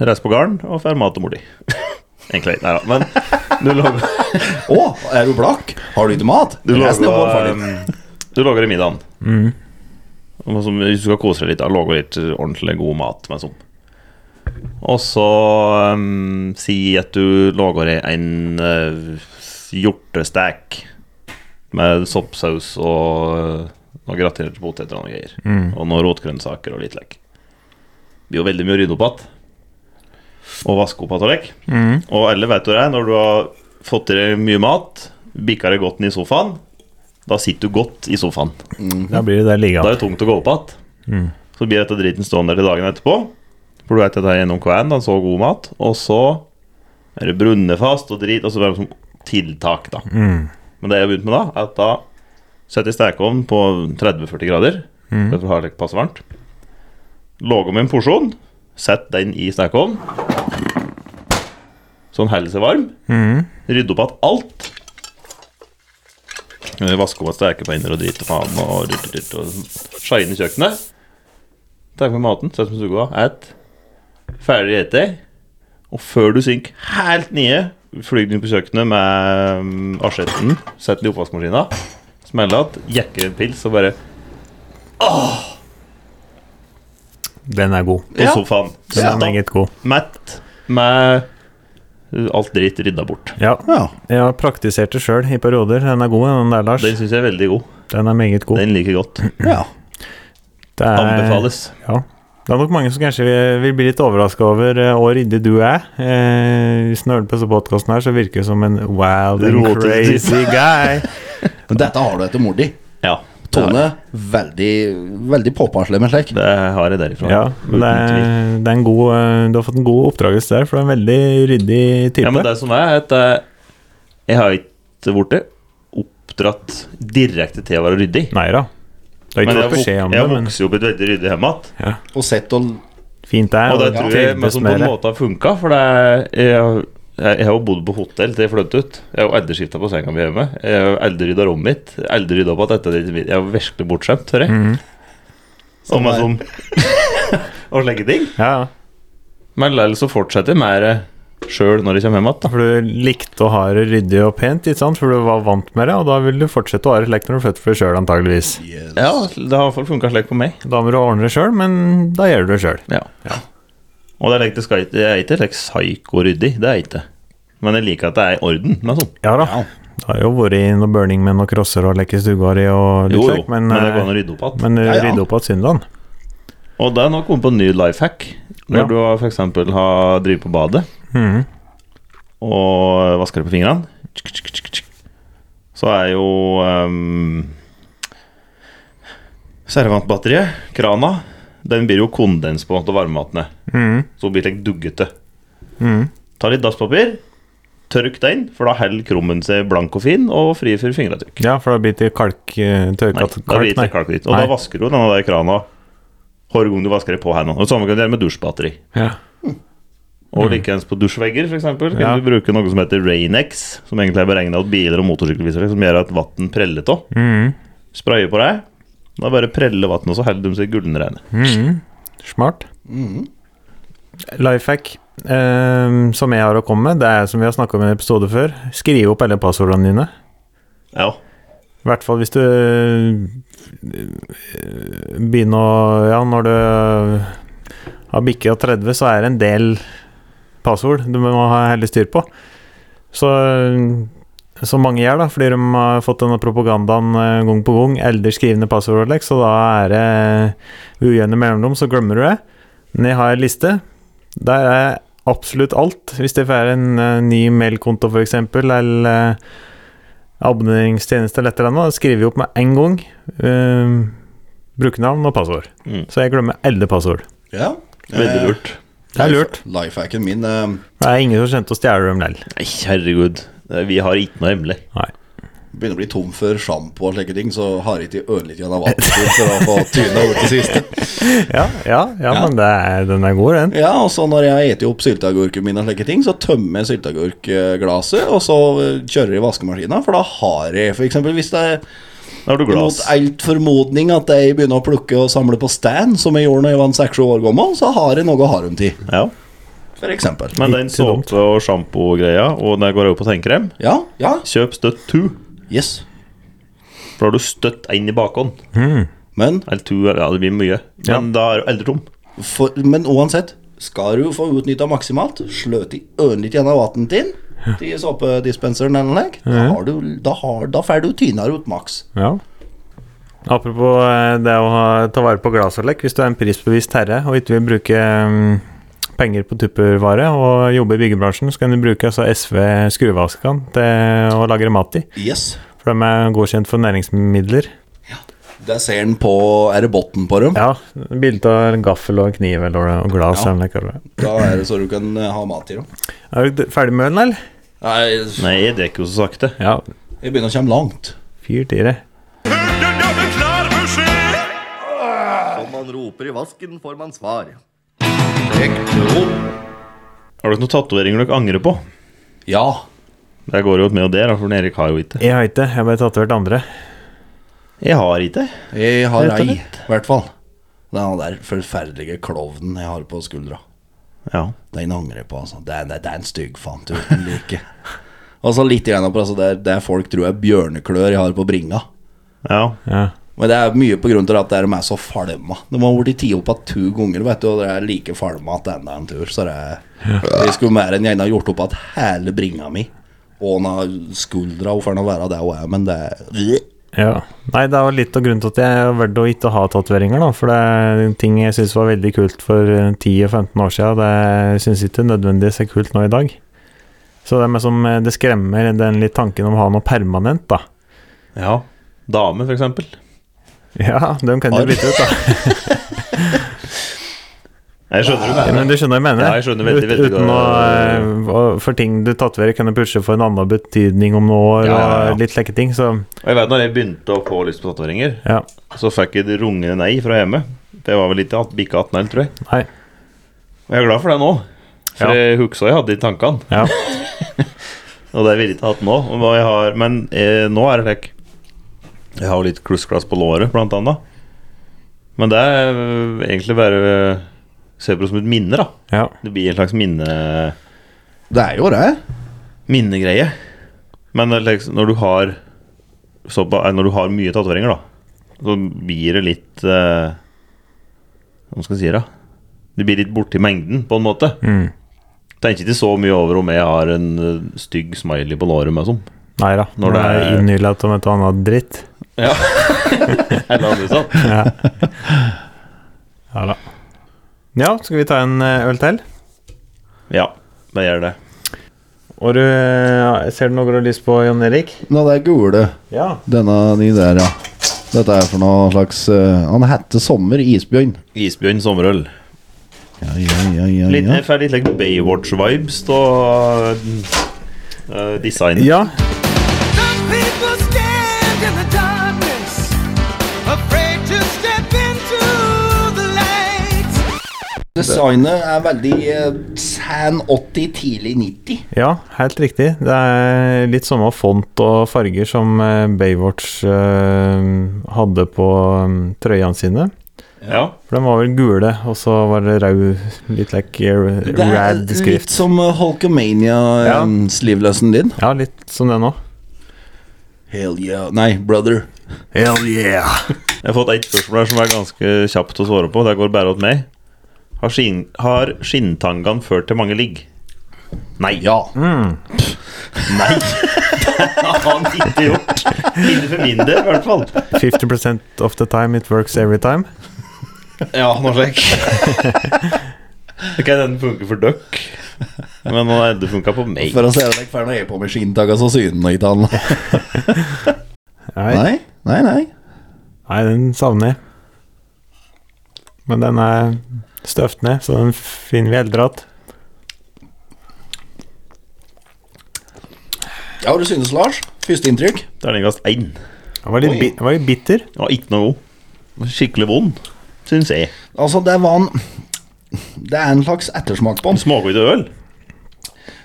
reiser på gården og får mat til mor di. (laughs) Egentlig. Nei da, men du lager, Å, er du blakk? Har du ikke mat? du Resten er bare lager, ferdig. um, du lager i middagen. Og Som hvis du skal kose deg litt, da, lage litt ordentlig god mat med sopp. Og så ehm, si at du lager en eh, hjortestek med soppsaus og eh, noen gratinerte poteter og noen greier. Og noen rotgrønnsaker og litt lekk. Det blir jo veldig mye å rydde opp igjen. Og vaske opp igjen og lekk. Og alle vet jo det, når du har fått i deg mye mat, bikka det godt ned i sofaen, da sitter du godt i sofaen. Da blir det der Da liggende. er det tungt å gå opp igjen. Så blir dette driten stående der til dagen etterpå. For du vet at det er gjennom kvelden, han så god mat. Og så er det brunnet fast og drit, og så er det som tiltak, da. Men det jeg har begynt med da, er at da setter jeg stekeovnen på 30-40 grader. Mm. For å ha det passe varmt. Lager med en porsjon, sett den i stekeovnen. Så den holder seg varm. Rydde opp igjen alt. Eh, Vaske opp stekebeiner og drit og faen og dyrt, dyrt, og skeie inn i kjøkkenet. Ta med maten, sett på stua, et. Ferdig ete. Og før du synker helt nede, flyr du inn på kjøkkenet med mm, asjetten, setter den i oppvaskmaskina, smeller att, jekker en pils og bare Den er god. på sofaen. Den er Mett, meget god. Mett med eh, alt dritt rydda bort. Ja. Ja. Jeg har praktisert det sjøl i perioder. Den er god, den der, Lars. Den syns jeg er veldig god. Den er meget god. Den liker jeg godt. ja. Det er- Anbefales. Ja. Det er nok mange som kanskje vil- vil bli litt overraska over eh, hvor ryddig du er. Eh, hvis en hører på denne podkasten her, så virker du som en wild and Rotete crazy (laughs) guy. Men dette har du etter mor di. Ja. det har jeg. Tone, veldig, veldig påpasselig med slik. Det har jeg derifra. Ja, det er, det er en god eh, Du har fått en god oppdragelse der, for du er en veldig ryddig type. Ja, men det som er, at eh, jeg har ikke blitt oppdratt direkte til å være ryddig. Nei da. Du har Men ikke jeg, fått vok- beskjed om det, jeg men vokser jo opp i et veldig ryddig hjem igjen. Og sett og fint det er. Og det og tror jeg sånn men trivdes som på med en det. måte har funka, for det er, jeg, jeg, jeg har jo bodd på hotell til jeg flyttet ut. Jeg har jo aldri skifta på senga mi hjemme. Jeg har jo aldri rydda rommet mitt. Jeg har Aldri rydda opp at dette er litt mitt. Jeg er jo virkelig bortskjemt, hører jeg. Mhm. Som er sånn (laughs) Og slike ting. Ja, ja. Men likevel så fortsetter jeg med det sjøl når jeg kommer hjem igjen. For du likte å ha det ryddig og pent, ikke sant? for du var vant med det, og da vil du fortsette å ha det slik når du flytter for deg sjøl, antageligvis. Ja, det har i hvert fall funka slik på meg. Da må du ordne det sjøl, men da gjør du det sjøl. Ja. Og det er like, det skal, ikke- jeg er ikke like psyko-ryddig, det er jeg ikke. Men jeg liker at det er i orden. Men sånn. Ja da. Det har jo vært i noe burning med noen crosser og lekke stuegård i og litt Jo, jo, slik, men, men, det går an å eh, rydde opp igjen. men Ja, ja. rydde opp igjen søndagen. Og det er nå kommet på en ny life hack. Når Ja. du f.eks. har drevet på badet Mhm. og vasker det på fingrene, tsk, tsk, tsk, tsk, så er jo um, servantbatteriet, krana, den blir jo kondens på til varmematene. Mhm. Så blir det litt duggete. Ta litt dasspapir, tørk den, for da holder krummen seg blank og fin og fri for fingeravtrykk. Ja, for da blir det kalk eh, Nei, tørka da blir det ikke kalk hvitt. Og da Nei. vasker du denne der krana hver gang du vasker det på hendene. Og det samme kan du gjøre med dusjbatteri. Ja. Og likeens på dusjvegger, f.eks. Kan Mm. Ja. du bruke noe som heter Rainex, som egentlig er beregna av biler og motorsykkelvisere, som gjør at vann preller av. Mm. Mm-hmm. Spraye på deg. Da bare preller vannet, og så holder de seg gulnrene. Smart. Mm-hmm. Life hack eh, som jeg har å komme med, det er som vi har snakka om i en episode før, skriv opp alle passordene dine. Ja. I hvert fall hvis du øh, begynner å Ja, når du har bikka 30, så er det en del passord du må ha hele styr på. Så som mange gjør, da, fordi de har fått denne propagandaen eh, gang på gang. Eldre skrivende passord, og slik, så da er det ved ujevne mellomrom, så glemmer du det. Men jeg har en liste. Der er absolutt alt. Hvis det er en eh, ny mailkonto, f.eks., eller eh, abonneringstjeneste eller et eller annet, skriver vi opp med en gang eh, brukernavn og passord. Mm. Så jeg glemmer alle passord. Ja. Veldig Eh. lurt. Det er lurt. Lifehacken min eh, Det er ingen som kjente å stjele dem lell. Nei, herregud. Eh, Vi har ikke noe hemmelig. begynner å bli tom for sjampo og slike ting, så har jeg ikke ørlite grann av vann til for å få tyna ut det (laughs) siste. Ja, ja, ja, men det er, den er god, den. Ja, og så når jeg eter opp sylteagurken min og slike ting, så tømmer jeg sylteagurkglasset, og så eh, kjører jeg i vaskemaskina, for da har jeg f.eks. hvis det er Da har du glass. Mot alt formodning at jeg begynner å plukke og samle på stand, som jeg gjorde når jeg var en 6-7 år gammel, så har jeg noe å ha dem til, Ja. for eksempel. Men den Ikke dumt. såpe- og sjampo-greia, og der går jeg jo på tannkrem, Ja, ja, kjøp støtt 2. yes. For da har du støtt inn i bakhånd. Men, Eller to, eller ja, det blir mye. Ja. Men da er du eldre tom. for, men uansett, skal du få utnytta maksimalt, sløt i ørnlitt gjennom vannet din til såpedispenseren eller noe, da har du, da har, da får du tynere ut maks. Ja. Apropos eh, det å ha, ta vare på glassalekk. Hvis du er en prisbevisst herre og ikke vil bruke mm, penger på tuppervare og jobbe i byggebransjen, så kan du bruke altså, SV skruvaskene til å lagre mat i. Yes. For de er godkjent for næringsmidler. Der ser den på Er det bunnen på dem? Ja, bilde av en gaffel og en kniv eller og glass. Ja. eller hva det kaller det. Da er det så du kan eh, ha mat i dem. Er du ferdig med ølen, eller? Nei, Nei, jeg drikker jo så sakte. Ja. jeg begynner å komme langt. Fyr til det. Om man roper i vasken, får man svar. Har dere noen tatoveringer dere angrer på? Ja. Det går jo med og der, da, for Erik har jo ikke. Jeg har ikke Jeg har bare tatovert andre. Jeg har ikke. Jeg har Rett og ei, slett. i hvert fall. Det er den der forferdelige klovnen jeg har på skuldra. Ja. Den angrer jeg på, altså. Det er, det er en stygg faen du uten like. (laughs) Og så litt igjen opp, altså. Det er, det er folk tror er bjørneklør jeg har på bringa. Ja. Ja. Men det er mye på grunn til at de er så falma. De har vært i tida på to ganger, vet du, og de er like falma at det enda er en tur. Så det er, jeg skulle mer enn gjerne ha gjort opp at hele bringa mi og den har skuldra og får nå være det hun er, men det er Ja. Nei, det var litt av grunnen til at jeg valgte å ikke ha tatoveringer, da. For det er en ting jeg syns var veldig kult for eh, 10-15 år siden, det syns ikke nødvendigvis er kult nå i dag. Så det, er med som, eh, det skremmer den litt tanken om å ha noe permanent, da. ja. Dame, for eksempel. Ja, den kan du Arr. bytte ut, da. Jeg skjønner du mener. Men du skjønner hva jeg mener? Ja, jeg skjønner veldig, veldig Uten å, godt. eh, å- For ting du tatoverer, kan du pushe for en annen betydning om noen år, Ja, ja, ja. og litt slike ting, så Og jeg vet når jeg begynte å få lyst på tatoveringer, ja. så fikk jeg det rungende nei fra hjemme. Det var vel ikke at- bikka 18 eller, tror jeg. Nei. Og jeg er glad for det nå. For Ja. jeg huksa jeg hadde i tankene, Ja. og det ville jeg ikke hatt nå. Og hva jeg har, men eh, nå er det slik. Jeg har jo litt klussglass på låret, blant annet. Men det er eh, egentlig bare eh, Se på det som et minne, da. ja. Det blir en slags minne... Det er jo det. minnegreie. Men det er liksom, når du har så, ba- eh, Når du har mye tatoveringer, da, så blir det litt eh, Hva skal jeg si, da? Du blir litt borti mengden, på en måte. Mm. Tenker ikke så mye over om jeg har en eh, stygg smiley på låret, men sånn. (laughs) Nei da. Når Når det er det er- innhylla av et annet dritt. Ja. Eller andre sånn. Ja. ja da. Ja, skal vi ta en eh, øl til? Ja, det gjør det. Og du, eh, ser du noe du har lyst på, Jon Erik? Nå, det er gule. Ja. Denne ni der, ja. Dette er for noe slags eh, Han heter Sommer Isbjørn. Isbjørn sommerøl. Ja, ja, ja, ja, Litt, ja. Jeg får litt like Baywatch-vibes av eh, design. ja. Designet er veldig eh, San 80, tidlig 90. Ja, helt riktig. Det er litt samme font og farger som eh, Baywatch eh, hadde på eh, trøyene sine. Ja. For de var vel gule, og så var det rød, litt like eh, Det er rad litt skrift. som Ja. Holkomania-sleeveløsen din. Ja, litt som det nå. Hell yeah. Nei, brother. Hell yeah! (laughs) Jeg har fått ett spørsmål her som er ganske kjapt å svare på. Det går bare åt meg. Har, skin, har skinntangene ført til mange ligg? Nei. Ja. Nei. Det har han ikke gjort. Ikke for min del, i hvert fall. 50 of the time it works every time. Ja, noe slik. (laughs) Ok, den funker for døkk. Men den har funka på meg. For å se deg ferdig når jeg er på med skinntagga, så syner den ikke han. Nei. (laughs) Nei, nei, nei. Nei, den savner jeg. Men den er støvt ned, så den finner vi eldre igjen. Ja, hva du synes, Lars? Førsteinntrykk? Terningkast én. Den var litt, bi den var litt bitter. Ja, ikke noe god. Skikkelig vond, syns jeg. Altså, det var en Det er en slags ettersmak på den. Smaker ikke øl.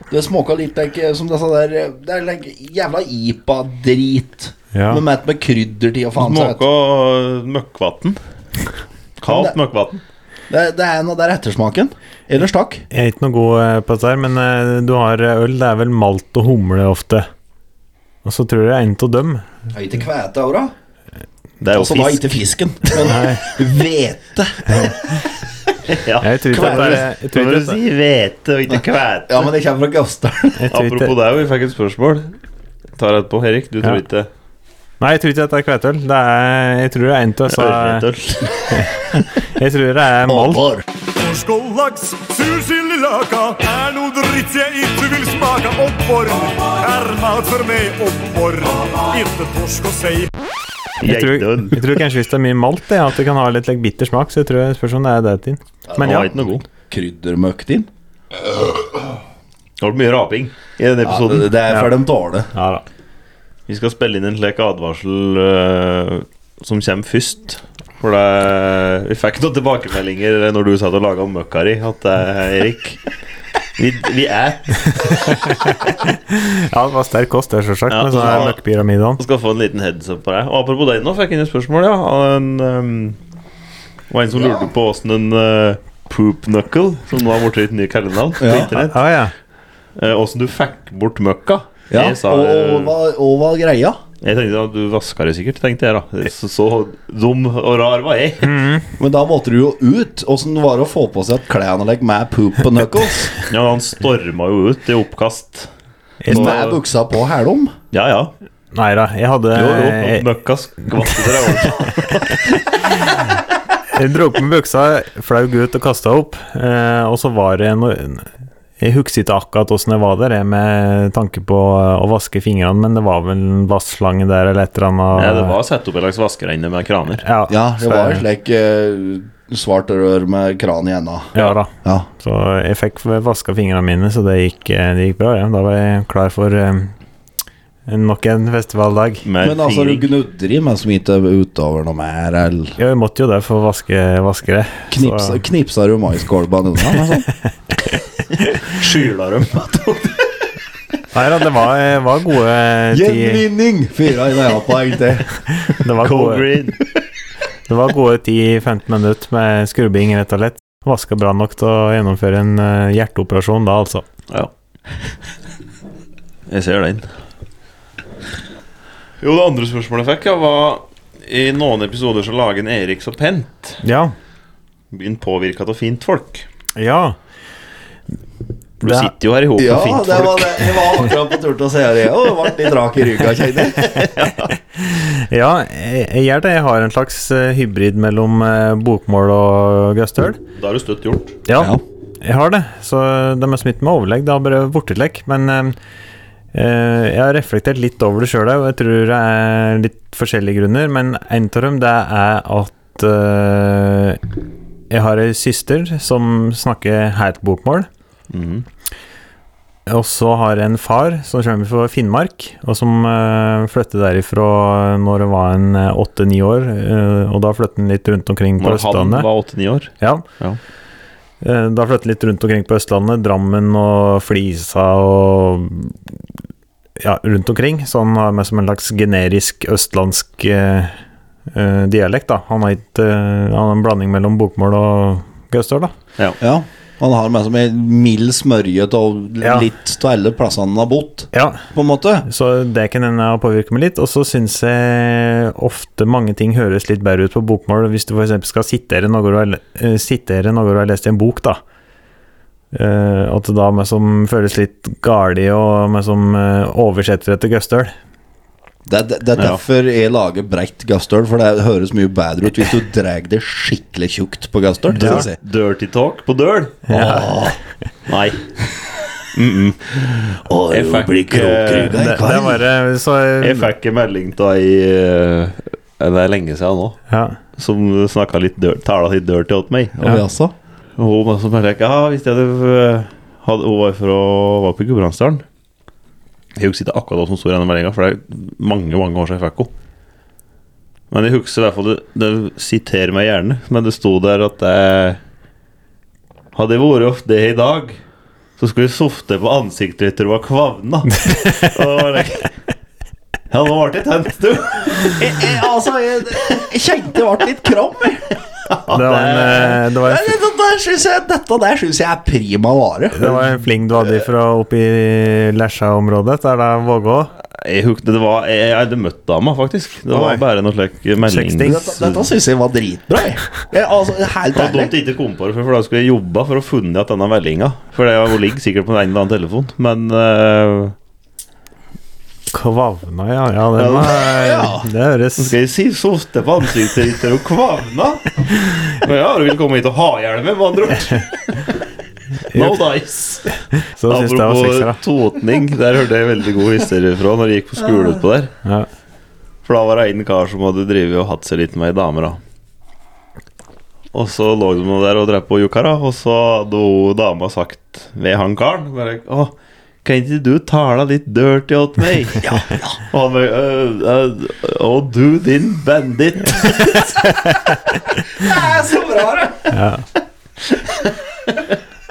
Det smaker litt like, som disse der eh, Det er like, jævla IPA-drit. Ja. Med mett med krydder til og faen seg. vet du. Smaker møkkvann. Kaldt møkkvann. Det, det er noe der ettersmaken. Ellers takk. Jeg er ikke noe god eh, på dette, her, men eh, du har eh, øl. Det er vel malt og humle ofte. Og så tror jeg det er en av dem. Er ikke kvete òg, da? Det er jo Altså da fisk. ikke fisken, men (laughs) hvete. (laughs) Ja. Jeg tror ikke Hva at det er- er jeg det tror ikke at Hva er det du det- sier? Hvete og ikke kvæte. Ja, men det kommer fra Gausdal. Jeg tror ikke- Apropos deg, vi fikk et spørsmål. Tar jeg etterpå. Erik, du Ja. tror ikke Nei, jeg tror ikke at det er kveitøl. Det er, jeg tror det er en av oss Ørretøl. (laughs) Jeg tror det er malt. Alvor. Torsk og laks, sursildelaka er noe dritt jeg ikke vil smake oppfor. Er mat for meg oppfor. Ikke torsk og sei. Jeg tror, Geitøl. jeg tror kanskje hvis det er mye malt, det, at det kan ha litt like, bitter smak. Så jeg tror jeg spørs om det er det til. Men Den ja. var ikke noe god. Kryddermøkk din. Det har vært mye raping i denne Ja, episoden. det, det er for dem dårlige. ja da. Vi skal spille inn en slik advarsel øh, som kommer først. For det, vi fikk noen tilbakemeldinger når du satt og laga møkka di, at det er Erik Vi, vi er Ja, det var sterk kost, det, sjølsagt. Ja, med sånn her ja. møkkpyramidene. og skal få en liten heads up på deg. Og apropos deg nå, fikk jeg inn et spørsmål, ja. Av en, øhm, det var en som lurte på åssen en øh, poop knuckle, som nå har blitt et nytt kallenavn på Ja. internett, eh, Ja, ja. åssen du fikk bort møkka. Ja, Jeg sa, og, øh, og, hva- og hva er greia? Jeg tenkte at du vaska det sikkert, tenkte jeg da. Så, så dum og rar var jeg. Mm. Men da måtte du jo ut. Åssen var det å få på seg et klædanlegg med poop på (laughs) knuckles? Ja, han storma jo ut i oppkast. Jeg, Med buksa på hælom? Ja, ja. nei da, jeg hadde Jo, jo. Eh. Jeg, Møkka skvattet dere (laughs) over. jeg dro opp med buksa, flaug ut og kasta opp. Eh, og så var det noe Jeg husker ikke akkurat åssen det var der, jeg, med tanke på eh, å vaske fingrene, men det var vel en vannslange der eller et eller annet. Ja, det var satt opp en slags vaskeregne med kraner. Ja, Ja, det så- var et slik eh, svart rør med kran i enda. Ja da. Ja. Så jeg fikk vaska fingrene mine, så det gikk, eh, det gikk bra. Ja. Da var jeg klar for eh, nok en festivaldag. Med Men altså, du fingring. gnudder i meg som ikke er utover noe mer, eller Ja, jeg måtte jo det for å vaske, vaske det. knipsa, Så- knipsa du maiskolben unna? eller sånn? (laughs) skyla dem. Nei da, det var, var gode (laughs) ti Gjenvinning! Fire i det her poeng til. Det var Cold gode, green. det var gode 10-15 minutter med skrubbing, rett og slett. Vaska bra nok til å gjennomføre en eh, hjerteoperasjon da, altså. Ja. Jeg ser den. Jo, det andre spørsmålet jeg fikk, ja, var I noen episoder så lager en Erik så pent. Ja. Blir han påvirka av fint folk? Ja. For Du Det- sitter jo her i hop med Ja, fint det folk. var, det. Jeg var akkurat på tur til å si det. Og ble litt rak i ryggen, kjenner jeg. Ja, jeg, jeg gjør det. Jeg har en slags eh, hybrid mellom eh, bokmål og gøstøl. Da har du støtt gjort. Ja, jeg har det. Så de er smitt med overlegg. Det har bare blitt lek. Men eh, eh, jeg har reflektert litt over det sjøl òg, og jeg tror det er litt forskjellige grunner. Men en av dem det er at eh, jeg har ei søster som snakker helt bokmål. Mhm. Og så har jeg en far som kommer fra Finnmark, og som uh, flyttet derifra når han var en åtte-ni år. eh, og da flyttet han litt rundt omkring på Når han Østlandet. var 8-9 år. Ja. Ja. Eh, Da flyttet jeg litt rundt omkring på Østlandet, Drammen og Flisa og ja, rundt omkring. Så han har med som en slags generisk østlandsk eh, eh, dialekt, da. Han har, ikke, eh, han har en blanding mellom bokmål og gaustøl, da. Ja, han har med som en mild smørje av Ja. litt av alle plassene han har bodd, Ja, på en måte. så det kan hende har påvirket meg litt. Og så syns jeg ofte mange ting høres litt bedre ut på bokmål hvis du f.eks. skal sitere noe du har, le- eh, sitere noe du har lest i en bok, da. Eh, at det da meg som føles litt garlig og meg som eh, oversetter etter Gøstøl. Det, det, det er Ja. derfor jeg lager breit gassdøl, for det høres mye bedre ut hvis du drar det skikkelig tjukt på gassdøl. skal jeg si. Dirty talk på døl? Nei. (laughs) Å, Jeg jo, fikk, blir krokrygg Det, av i det er kveld. bare så eh, Jeg fikk en melding av ei eh, Det er lenge siden nå. ja. Som snakka litt dirt, tala litt dirty til meg. Og vi også. Og hun som bare like, ja, hvis jeg hadde, eh, hadde Hun var fra var på Gudbrandsdalen. Jeg husker ikke akkurat hva som står i denne meldinga, for det er mange mange år siden jeg fikk henne. Men jeg husker i hvert fall det, det siterer meg gjerne, men det sto der at jeg Hadde jeg vært off det i dag, så skulle jeg softe på ansiktet etter hun var kvavna. Og det var like, ja, nå ble jeg tent, du. Jeg, jeg, altså, jeg, jeg kjente jeg ble litt kram. jeg. det, var en, eh, det, var Nei, en, Det, sånn, det, der synes jeg, dette der syns jeg er prima vare. det var en fling du hadde fra oppi Lesja-området, der det er Vågå. Jeg, huk- det var, jeg, jeg hadde møtt dama, faktisk. Det Oi. var bare noe slik melding Sexting. Dette, dette syns jeg var dritbra, jeg. jeg altså, helt Det var dumt ærlig. jeg ikke kom på det, for for da skulle jeg jobba for å funne igjen denne meldinga. For det var- hun ligger sikkert på en eller annen telefon, men eh, Kvavna, ja. ja, det, var- eh, det høres Skal jeg si sorte på ansiktet ditt er du kvavna? Men ja, du vil komme hit og ha hjelmen, med (laughs) andre ord. No dice. Så syns jeg det var sexy, da. Apropos totning, der hørte jeg veldig god historie fra når jeg gikk på skole utpå der. Ja. For da var det en kar som hadde drivet og hatt seg litt med ei dame, da. Og så lå de nå der og drev på og jokka, da, og så hadde hun dama sagt ved han karen bare, Å, kan ikke du tale litt dirty åt meg? ja, ja. Og han bare «Øh, øh, Å, du din bandit.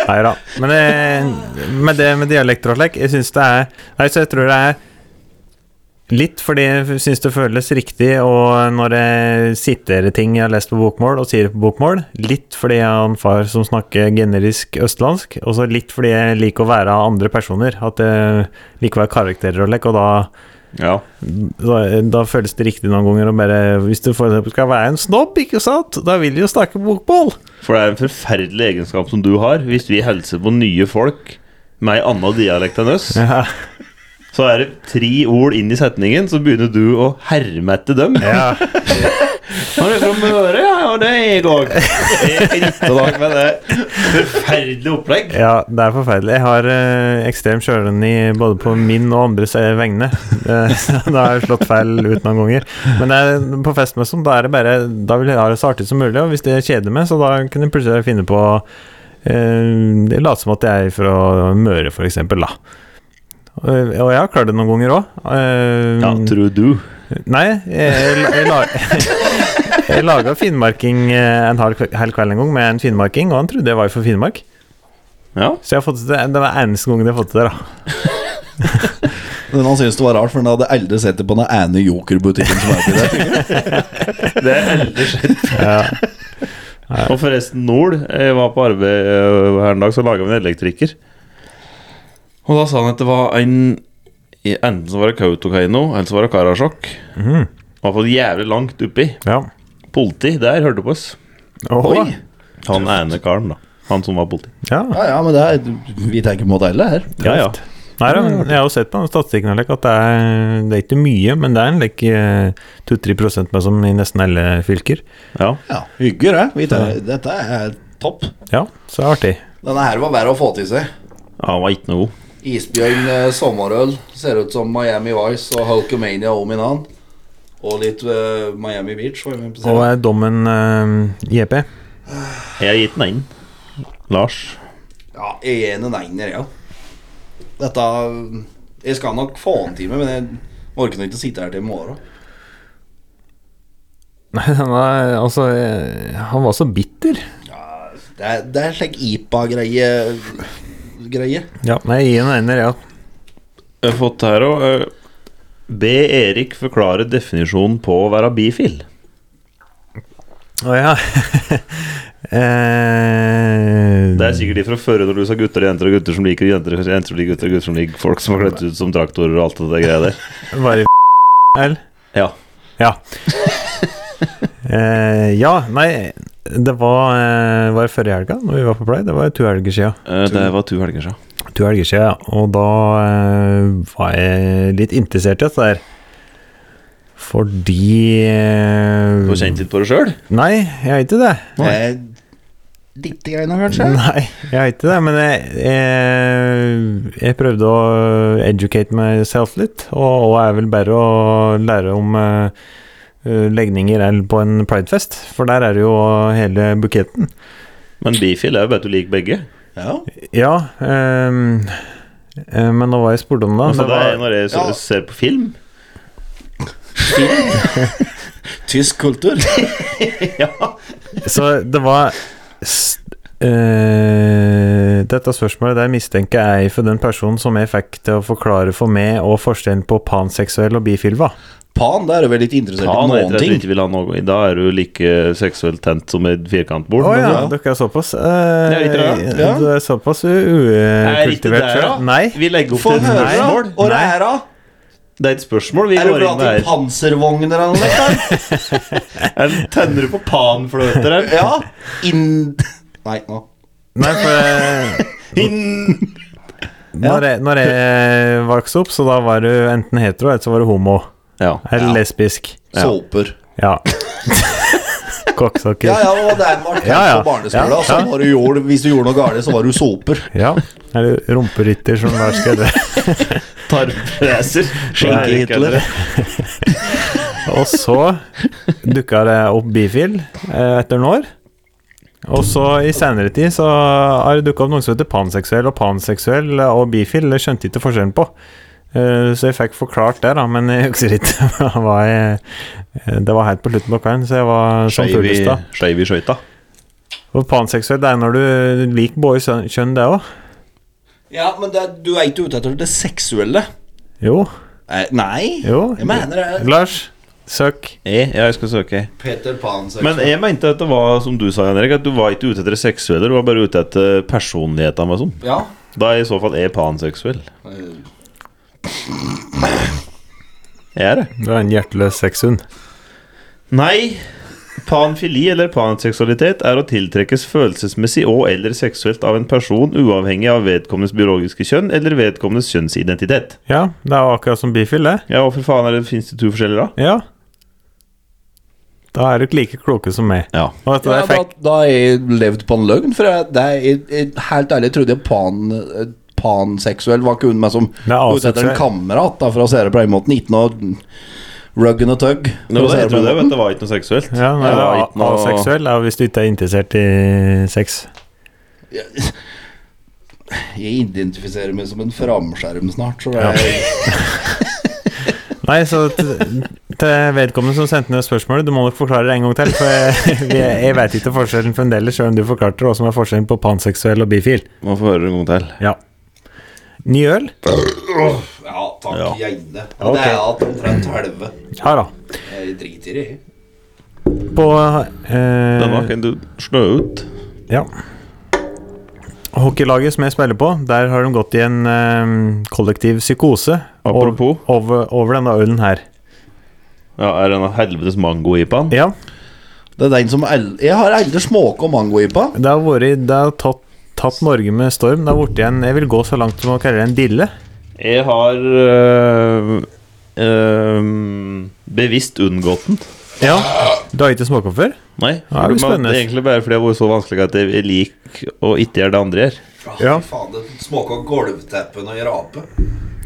Nei da. Men eh, med det med dialekter og slik, jeg syns det er Nei, så jeg tror det er litt fordi jeg syns det føles riktig, og når jeg siterer ting jeg har lest på bokmål, og sier det på bokmål, litt fordi jeg har en far som snakker generisk østlandsk, og så litt fordi jeg liker å være av andre personer, at jeg liker å være karakterer og lek, og da Ja. da, da føles det riktig noen ganger å bare Hvis du for eksempel skal være en snobb, ikke sant, da vil du jo snakke bokmål. For det er en forferdelig egenskap som du har. Hvis vi hilser på nye folk med ei anna dialekt enn oss, (laughs) Ja. så er det tre ord inn i setningen, så begynner du å herme etter dem. Ja. Han er fra Møre, ja, ja, (laughs) det er jeg òg. Riktignok med det forferdelige opplegg. Ja, det er forferdelig. Jeg har eh, ekstrem sjølironi både på min og andres eh, vegne. (laughs) Eh, så da har jeg slått feil ut noen ganger. Men det er, på festmessen, da er det bare Da vil jeg ha det så artig som mulig, og hvis det kjeder meg, så da kan jeg plutselig finne på å eh, late som at jeg er fra Møre, for eksempel, da. Og og jeg har klart det noen ganger Eh, òg. Ja, tror du. Nei, jeg, jeg, jeg, la- (laughs) jeg laga finnmarking eh, en hel kve- hel kveld en gang med en finnmarking, og han trodde jeg var fra Finnmark. Ja. Så jeg har fått til det, det var eneste gangen jeg har fått til det, da. Men han syntes det var rart, for han hadde aldri sett det på den ene jokerbutikken som er oppi der. Det er aldri skjedd før. Og forresten, Nord Jeg var på arbeid eh, her en dag, så laga vi en elektriker. Og da sa han at det var en Enten så var det Kautokeino, eller så var det Karasjok. Mm. Var fått jævlig langt oppi. Ja. Politi der hørte på oss. Åh. Han ene karen, da. Han som var politi. Ja. Ja, ja, men det er, vi tenker mot alle her. Ja, ja. Nei, da, men jeg har jo sett på den statistikken like, at det er, det er ikke mye, men det er en like, eh, 2-3 prosent med som i nesten alle fylker. ja. Ja, Hygger, det. Vi tar- Dette er topp. Ja, så er det artig. Denne her var verre å få til seg. Ja, Han var ikke noe god. Isbjørn eh, sommerøl. Ser ut som Miami Vice og Hulkamania om i annen. Og litt eh, Miami Beach. Var jeg med på Og scenen. er dommen eh, JP? Jeg har gitt den inn. Lars. Ja, jeg er en einer, ja. Dette Jeg skal nok få en time, men jeg orker nå ikke å sitte her til i morgen. Nei, han var, altså, eh, han var så bitter. Det er, det er slik IPA-greie Greie. Ja, nei, gi en ender, ja. Jeg har fått her eh, òg Be Erik forklare definisjonen på å være bifil. Å ja. (laughs) eh, Det er sikkert de fra før når du sa gutter og jenter og gutter som liker jenter og jenter som liker gutter og gutter som liker folk som har kledd ut som traktorer og alt det der greia der. bare eller? Ja. Ja. (laughs) eh, ja, nei Det var, eh, var det forrige helga Når vi var på Play. Det var to helger sia. (laughs) Eh, Det var to helger siden. To helger sia, ja. Og da eh, var jeg litt interessert i dette der. Fordi eh, Du har kjent litt på det sjøl? Nei, jeg har ikke det. Eh, Litt grann, kanskje? Nei, jeg har ikke det. Men jeg, jeg, jeg prøvde å educate myself litt, og, og er vel bare å lære om eh, eh, legninger eller på en pridefest, for der er det jo hele buketten. Men bifil er jo bare at du liker begge. Ja. Ja, ehm, eh, men nå var jeg spurt om det. Altså, det det var, er når jeg så, Ja. ser på film Tysk kultur. Så det var s- eh, Dette spørsmålet der mistenker jeg for den personen som jeg fikk til å forklare for meg og forskjellen på panseksuell og bifil var. Pan, da er du vel litt interessert Ja, i nå vet jeg noen at du ting. ikke vil ha noe. Da er du like seksuelt tent som et firkantbord. Å ja, men- dere er såpass eh, Det er litt rart, Du ja. er såpass Er ikke ukultivert der, da? Eh, Nei. Vi legger opp Få til et høre, da. spørsmål. Nei. da? Det er et spørsmål. Vi Er du går inn glad i der. panservogner eller noe? sånt, (laughs) da? Jeg tenner du på panfløter her? Ja. Inn... Nei, nå. Nei, for (laughs) eh, når, jeg, når jeg vokste opp, så da var du enten hetero eller så var du homo. Ja. Eller lesbisk. Såper. (laughs) Ja. Kokksokker. Ja, ja, det var der man tenkte Ja, ja. på barneskolen. Ja, Så ja. var du gjorde, hvis du gjorde noe galt, så var du såper. Ja. Eller rumperytter, som hver skal det. Tarmracer. Skjenke-Hitler. Og så dukka det opp bifil eh, etter noen år. Og så i senere tid så har det dukka opp noen som heter panseksuell, og panseksuell eh, og bifil det skjønte jeg ikke forskjellen på. Eh, Så jeg fikk forklart det, da, men jeg husker ikke (laughs) hva jeg Det var helt på slutten av kvelden, så jeg var som Skeiv i fullest da. skeiv i skøyta. Og panseksuell, det er når du liker både kjønn- kjønn, det òg? Ja, men det, du er ikke ute etter det seksuelle. Jo. Eh, Nei. Jo. Jeg mener det. Lars, søk. Jeg, E, jeg skal søke. Peter Pan seksuell. Men eh, jeg mente at det var som du sa, Jan Erik, at du var ikke ute etter det seksuelle, du var bare ute etter personligheten. Liksom. Ja. Da er i så fall jeg panseksuell. Jeg er det. Du er en hjerteløs sexhund. Nei. Panfili eller panseksualitet er å tiltrekkes følelsesmessig og eller seksuelt av en person uavhengig av vedkommendes biologiske kjønn eller vedkommendes kjønnsidentitet. Ja, det er jo akkurat som bifil, det. Ja, hvorfor faen er det, finnes det to forskjeller da? Ja. Da er du ikke like kloke som meg. Ja. Og dette Ja, der da, fikk da har jeg levd på en løgn, for jeg, det er, jeg, jeg, helt ærlig trodde jeg pan, eh, panseksuell var kun meg som er ute etter aseksuell. en kamerat, da, for å se det på den måten. Ikke noe rug and a tug. for Nå, å se det jeg på trodde den jeg måten. vet det var ikke noe seksuelt. ja, nei, Det det var er ikke noe- aseksuell er hvis du ikke er interessert i sex. Jeg identifiserer meg som en framskjerm snart, så det er Nei, så t- (laughs) til vedkommende som sendte ned spørsmålet, du må nok forklare det en gang til. For jeg, (laughs) jeg- jeg veit ikke forskjellen fremdeles, sjøl om du forklarte hva som er forskjellen på panseksuell og bifil. Må få høre det en gang til. Ja. Ny øl? Ja, takk, Ja. gjerne. Og Ok. det er at omtrent halve. Ja da. Jeg driter i det. jeg. På Denne eh, kan du slå ut. Ja. Hockeylaget som jeg spiller på, der har de gått i en eh, kollektiv psykose Apropos. ov- over, over denne ølen her. Ja, Er denne helvetes mango-ipaen? Ja, Det er den som el Jeg har aldri småka mangoipa. det har vært Det har tatt, tatt Norge med storm. Det har blitt en Jeg vil gå så langt som å kalle det en dille. Jeg har øh, øh, bevisst unngått den. Ja. Du har ikke smaka før? Nei, Ja, det blir men spennende. det er egentlig bare fordi jeg har vært så vanskelig at jeg liker å ikke gjøre det andre gjør. Ja. Fy faen, det småka gulvteppen og rape.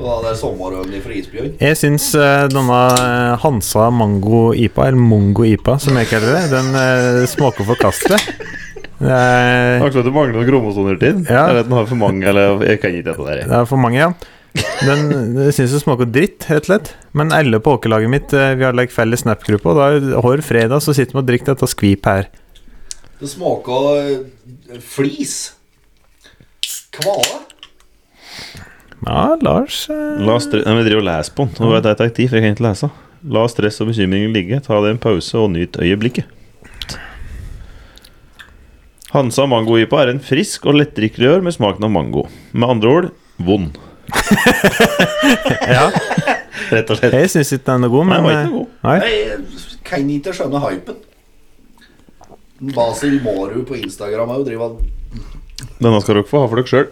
Og da det er sommerølen i Frisbjørn. Jeg syns eh, denne eh, Hansa Mango IPA, eller Mongo IPA som jeg kaller det, den eh, smaker forkastelig. Det er, Akkurat det mangler noen kromosoner til den. Ja. Eller at den har for mange, eller jeg kan ikke dette der. jeg. det er for mange, ja. Den jeg syns det smaker dritt, rett og slett. Men alle på åkerlaget mitt eh, Vi har lagt felles Snap-gruppe, og da er- hver fredag så sitter vi og drikker dette skvipet her. Det småka eh, flis. Kvale. Ja, Lars eh, La stre- Nei, Vi driver og leser på den. Nå vet jeg ikke aktiv, for jeg kan ikke lese. La stress og bekymringer ligge, ta deg en pause og nyt øyeblikket. Hansa mango-ipa er en frisk og lettdrikkelig øl med smaken av mango. Med andre ord vond. Ja. Rett og slett. Jeg syns ikke den er god, Nei, men den var ikke eh, god. Nei. Jeg kan ikke skjønne hypen. Basil Mårud på Instagram er jo driver Denne skal dere få ha for dere sjøl.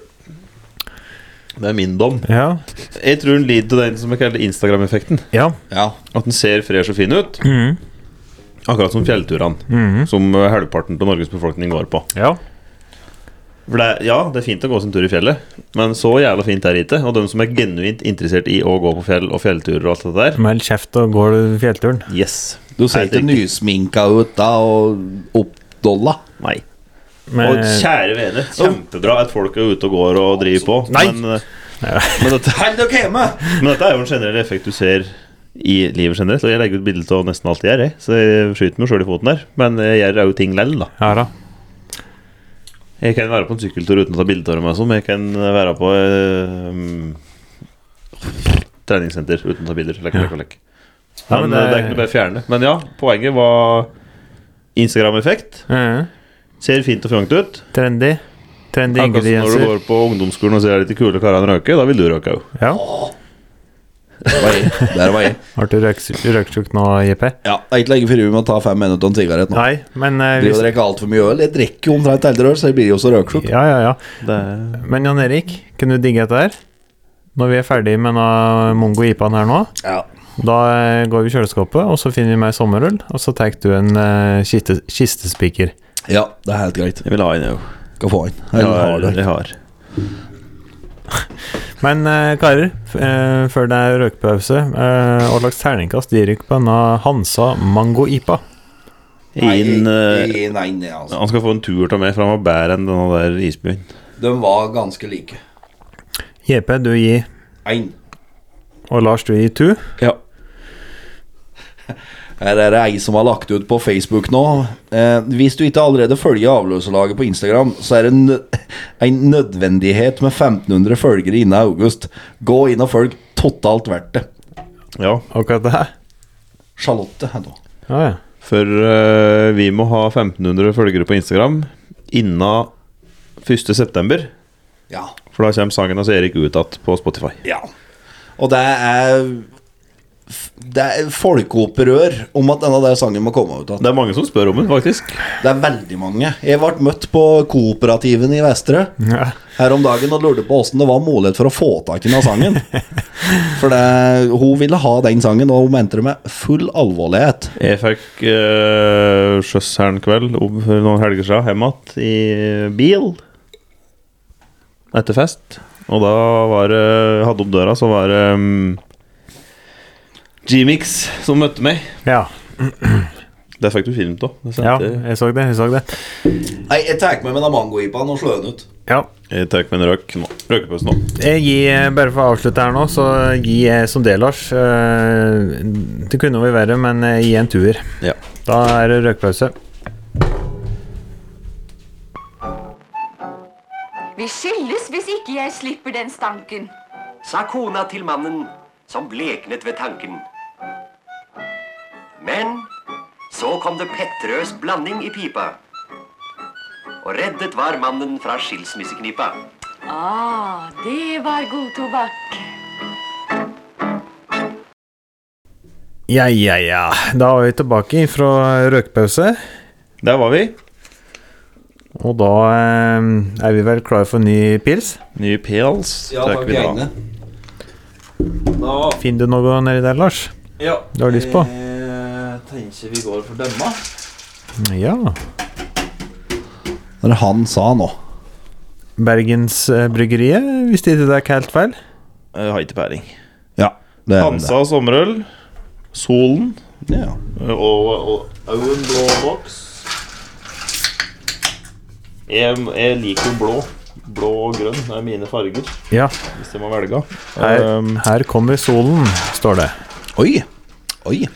Det er min dom. Ja. Jeg tror hun lider av den som jeg kaller Instagram-effekten. ja. Ja. At den ser fresh og fin ut. Akkurat som fjellturene, som eh, halvparten av Norges befolkning går på. Ja. For det er, ja, det er fint å gå sin tur i fjellet, men så jævla fint er det ikke. Og de som er genuint interessert i å gå på fjell og fjellturer og alt det der, Meld kjeft og går du fjellturen. yes. Du ser Helt ikke riktig. nysminka ut da og oppdolla. Nei. Og Men, kjære vene, kjempebra at folk er ute og går og driver på, Nei. men, eh, men, dette, Held dere hjemme! men dette er jo en generell effekt du ser i livet generelt. Og jeg legger ut bilde av nesten alt jeg gjør, jeg, så jeg skyter meg sjøl i foten der. Men eh, jeg gjør jo ting lell, da. ja da. Jeg kan være på en sykkeltur uten å ta bilder av meg som Jeg kan være på eh, treningssenter uten å ta bilder. Lekk, lekk, lekk. Ja, men Men eh, det er ikke noe bare å fjerne. Men ja, poenget var Instagram-effekt. Mhm. Ser fint og fjongt ut. Trendy. Trendy Akkurat som når du ingredienser. går på ungdomsskolen og ser de kule karene røyke. Da vil du røyke òg. Ja. Der var jeg. Der var jeg. Har du røyksu- røyksjukt nå, JP? Ja, det er ikke lenge før vi må ta fem minutter og en sigarett nå. Nei, men eh, Driver og hvis, drikker altfor mye øl. Jeg drikker jo omtrent eldre øl, så jeg blir jo så røksjuk. Ja, ja, ja. Det er Men Jan Erik, kunne du digge dette her? Når vi er ferdig med denne Mongo IPA-en her nå, Ja. da eh, går vi i kjøleskapet, og så finner vi meg sommerøl, og så tar du en eh, kiste, kistespiker. ja, det er helt greit. Jeg vil ha en, jeg òg. Skal få en. Jeg Eller har har- du? jeg har. Men eh, karer, f- eh, før det er røykpause, eh, hva slags terningkast gir dere på denne Hansa Mango IPA? Inn, eh, Nei, nei, nei, altså. han skal få en tur av meg, for han var bedre enn denne der isbyen. De var ganske like. JP, du gir, Én. og Lars, du gir to. (laughs) Ja. Her er det ei som har lagt ut på Facebook nå. Eh, hvis du ikke allerede følger Avløserlaget på Instagram, så er det en, (laughs) en nødvendighet med 1500 følgere innen august. Gå inn og følg. Totalt verdt det. Ja, Akkurat det her. Charlotte her nå. Ja, ja. for eh, vi må ha 1500 følgere på Instagram innen 1. september. Ja. For da kommer sangen hans Erik ut igjen på Spotify. ja. Og det er Det er folkeopprør om at denne der sangen må komme ut. igjen. Det er mange som spør om den, faktisk. Det er veldig mange. Jeg ble møtt på Kooperativen i Vestre Ja. her om dagen og lurte på åssen det var mulighet for å få tak i den (laughs) sangen. For det, hun ville ha den sangen, og hun mente det med full alvorlighet. Jeg fikk uh, sjøs her en kveld om for noen helger siden hjem igjen i bil etter fest. Og da var det Hadde opp døra, så var det um, G-Mix som møtte meg. ja. Det fikk du film av. det Ja, sendte jeg. jeg så det, jeg så det. Nei, jeg tar med meg den mangoipaen og slår den ut. Ja. Jeg tar ikke med en røyk nå. Røykepause nå. Jeg gir, Eh, bare for å avslutte her nå, så gir jeg som det, Lars. eh, Det kunne vært verre, men jeg gir en tuer. Ja. Da er det røykpause. Vi skilles hvis ikke jeg slipper den stanken. sa kona til mannen, som bleknet ved tanken. Men så kom det pettrøs blanding i pipa. Og reddet var mannen fra skilsmisseknipa. Ah, det var god tobakk. Ja, ja, ja. Da var vi tilbake fra røykpause. Der var vi. Og da eh, er vi vel klare for ny pils. Ny pels. Ja, tar takk, vi da. gjerne. Da Finner du noe nedi der, Lars? Ja. Du har lyst på? Jeg tenker vi går for denne. Ja. Når han sa nå Bergensbryggeriet, eh, hvis det ikke er helt feil. Jeg har ikke peiling. Ja. Det er det. Hansa sommerøl. Solen. Ja. Og Owen blå boks. Jeg, jeg liker jo blå. Blå og grønn det er mine farger, Ja. hvis jeg må velge. Her, Um, her kommer solen, står det. Oi. Oi.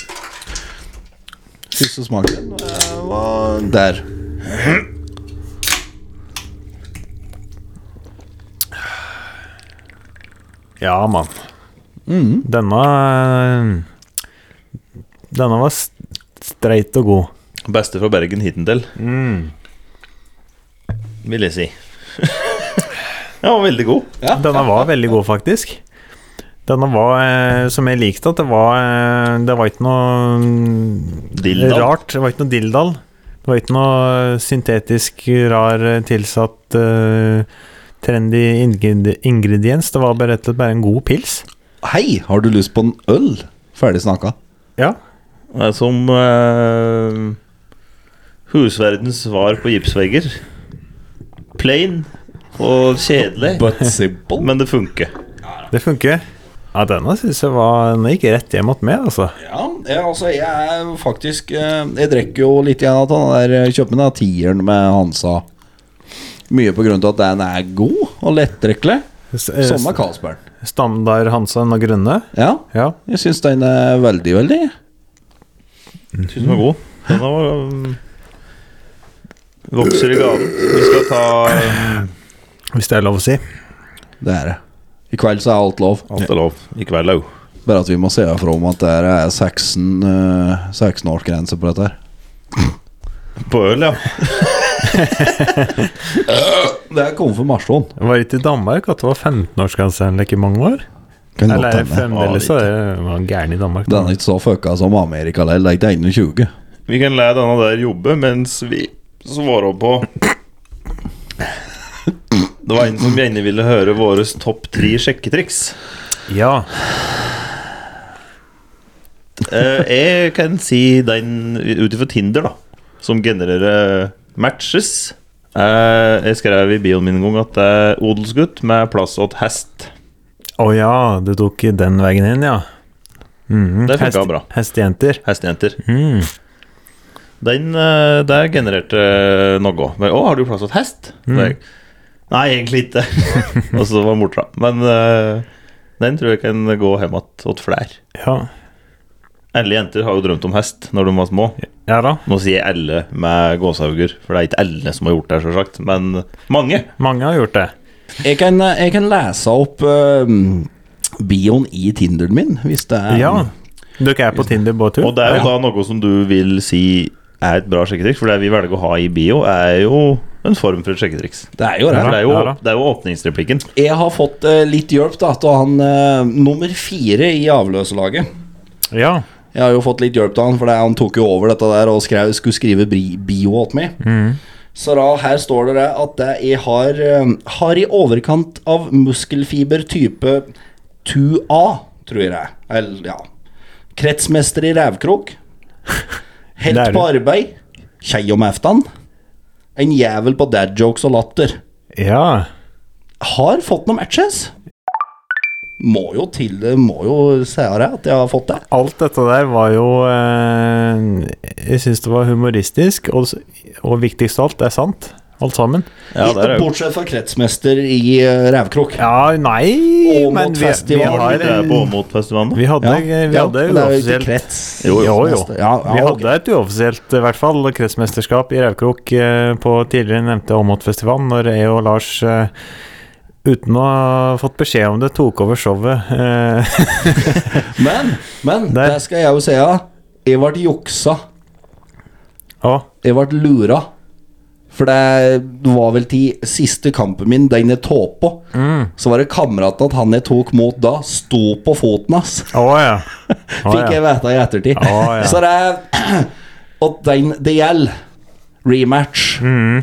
Siste smaken eh, var der. Ja, mann. Denne Denne var st- streit og god. beste fra Bergen hittil. Mm. Vil (laughs) jeg si. Den var veldig god. Denne var veldig god, faktisk. Denne var, eh, som jeg likte, at det var eh, Det var ikke noe mm, Dilldall. rart. Det var ikke noe dilldall. Det var ikke noe eh, syntetisk rar eh, tilsatt eh, trendy ingred- ingrediens. Det var bare rett og slett bare en god pils. Hei, har du lyst på en øl? Ferdig snakka. Ja. Det er som eh, husverdens svar på gipsvegger. Plain og kjedelig, But simple. men det funker. Det funker. Ja, denne synes jeg var Den gikk rett hjem mot meg, altså. Ja, jeg, altså jeg er faktisk eh, Jeg drikker jo litt igjen av den der eh, kjøper meg den tieren med Hansa. Mye på grunn til at den er god og lettdrikkelig. S- eh, Som med Carlsberg. Standard Hansen og Grønne. Ja, Ja. jeg syns den er veldig, veldig Syns den var god. Den var um, Vokser i gaten. Vi skal ta um, Hvis det er lov å si. Det er det. I kveld så er alt lov. Alt er lov. I kveld òg. Bare at vi må se fra om at det er 16, eh, 16-årsgrense på dette her. På øl, ja. Det er konfirmasjon. Det var ikke i Danmark at det var 15-årsgrense en leke mange år. Kan godt Eller er det hende. fremdeles så er det var gæren i Danmark. Den er ikke så fucka som Amerika lell. Det er ikke 21. Vi kan la denne der jobbe mens vi svarer på Det var en som gjerne ville høre våre topp tre sjekketriks. Ja. Eh, jeg kan si den ut ifra Tinder, da, som genererer matches. Eh, jeg skrev i bioen min en gang at det er odelsgutt med plass åt hest. Å ja, du tok den veien inn, ja. Mhm. Det funka bra. Hestejenter. Hestejenter. Mm. Den eh, der genererte noe. Men, Å, har du plass til et hest? Hmm. Da jeg, Nei, egentlig (laughs) ikke. og så var mortra. Men eh, den tror jeg kan gå hjem att åt flere. Ja. Alle jenter har jo drømt om hest når de var små. ja da. Nå sier jeg alle med gåsehauger, for det er ikke alle som har gjort det, selvsagt. Men mange. Mange har gjort det. Jeg kan, jeg kan lese opp eh, bioen i Tinderen min, hvis det er Ja. Dere er på Tinder både to? Og det er jo da noe som du vil si er et bra sjekketriks, for det vi velger å ha i bio, er jo en form for et sjekketriks. Det er jo det. For det er jo, Ja da. det er jo åpningsreplikken. Jeg har fått eh, litt hjelp da, av han eh, nummer fire i avløserlaget. Ja. Jeg har jo fått litt hjelp av han, for det, han tok jo over dette der og skrev, skulle skrive bri- bio åt meg. Mm. Så da, her står det det at det jeg har, eh, har i overkant av muskelfiber type 2A, tror jeg det er. Eller, ja. Kretsmester i revkrok. Det Helt er på du. arbeid. Kjei om eftan. En jævel på dad jokes og latter. ja. har fått noen matches. Må jo til det, må jo si det at jeg har fått det. Alt dette der var jo eh, Jeg syns det var humoristisk, og, og viktigst av alt, det er sant. Alt sammen. Ja, det er jo Bortsett fra kretsmester i eh, Revkrok. Ja, nei Og mot Men vi, vi festival. har eh, Det er på Åmotfestivalen. Vi hadde, vi ja, hadde men det er jo ikke uoffisielt krets. Jo, jo. Ja, Vi ja, ok. hadde et uoffisielt, i hvert fall, kretsmesterskap i Raukrok eh, på tidligere nevnte Åmotfestivalen, når jeg og Lars eh, Uten å ha fått beskjed om det, tok over showet. Eh, (laughs) Men, men Der. der skal jeg jo si ja. Jeg ble juksa. og Jeg ble lura. For det var vel til siste kampen min, den jeg tåp på. Mm. Så var det kameraten at han jeg tok mot da, sto på foten hans. Å ja. Å, Fikk jeg ja. vite i ettertid. Å, ja. Så det er (clears throat) Og den det gjelder, rematch, Mm.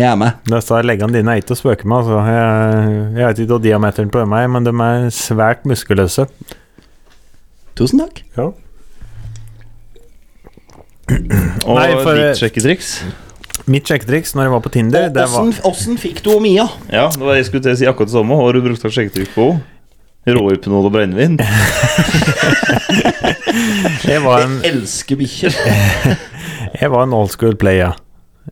jeg er med. Disse leggene dine er ikke å spøke med. Altså. Jeg, jeg vet ikke hva diameteren på dem er, men de er svært muskuløse. Tusen takk. Ja. Og Nei, for- ditt sjekketriks. Mitt sjekketriks når jeg var på Tinder, det var Åssen åssen fikk du og Mia? Ja, det var jeg skulle til å si akkurat det samme. Har du brukt av sjekketrykk på Råhypnol og brennevin? Jeg var en, Jeg elsker bikkjer. jeg var en old school player.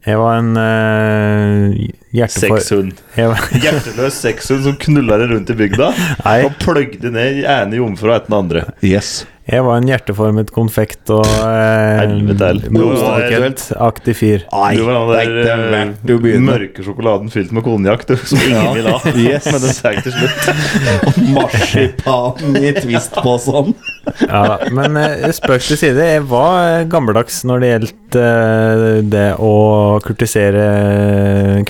Jeg var en eh, hjertefor... Sexhund. Jeg var, (laughs) Hjerteløs sexhund som knulla det rundt i bygda. Nei. Og pløgde ned ene jomfru og etter den andre. Yes. jeg var en hjerteformet konfekt og eh, Helvete heller. blodstolket-aktig fyr. Nei, du var det er den ikke der verdt å eh, begynne. mørke sjokoladen fylt med konjakk du, som ingen Ja. vil ha. Yes. Men det seg til slutt. Marsipan i sånn. twistposen. Ja, da. men eh, spøk til side, jeg var eh, gammeldags når det gjaldt eh, det å kurtisere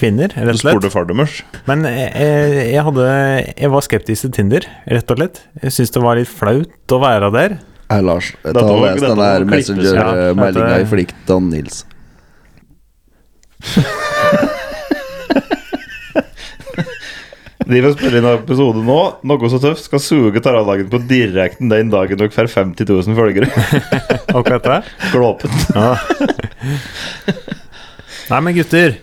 kvinner, rett og slett. Spurte fardummers. Men jeg, jeg, jeg hadde Jeg var skeptisk til Tinder, rett og slett. Jeg syntes det var litt flaut å være der. Hei, Lars. Jeg Dette tar og må- leser den dette må der klippes, ja. Messenger-meldinga Dette- i flikt av Nils. De vil spille inn en episode nå. Noe så tøft skal suge taradagen på direkten den dagen dere får 50 000 følgere. (laughs) Akkurat det. Glåpet. Ja. Nei, men gutter.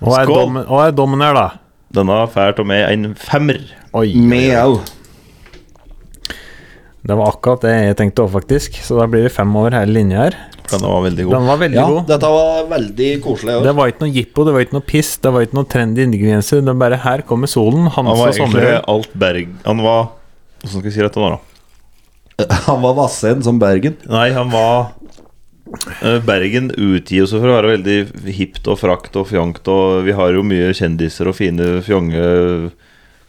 Hva er, Skål. dom, hva er dommen her, da? Denne fælt og med en femmer. Mjau. Det var akkurat det jeg tenkte òg, faktisk. Så da blir det fem over hele linja her. For den var veldig god. Den var veldig Ja, god. dette var veldig koselig. Det var ikke noe jippo, det var ikke noe piss, det var ikke noe trendy ingredienser. Det var bare 'her kommer solen', Han Hans og var egentlig sommerøl. alt Berg... Han var Hvordan skal jeg si dette nå, da? Han var vassen som Bergen. Nei, han var eh, Bergen utgir seg for å være veldig hipt og frakt og fjongt, og vi har jo mye kjendiser og fine, fjonge,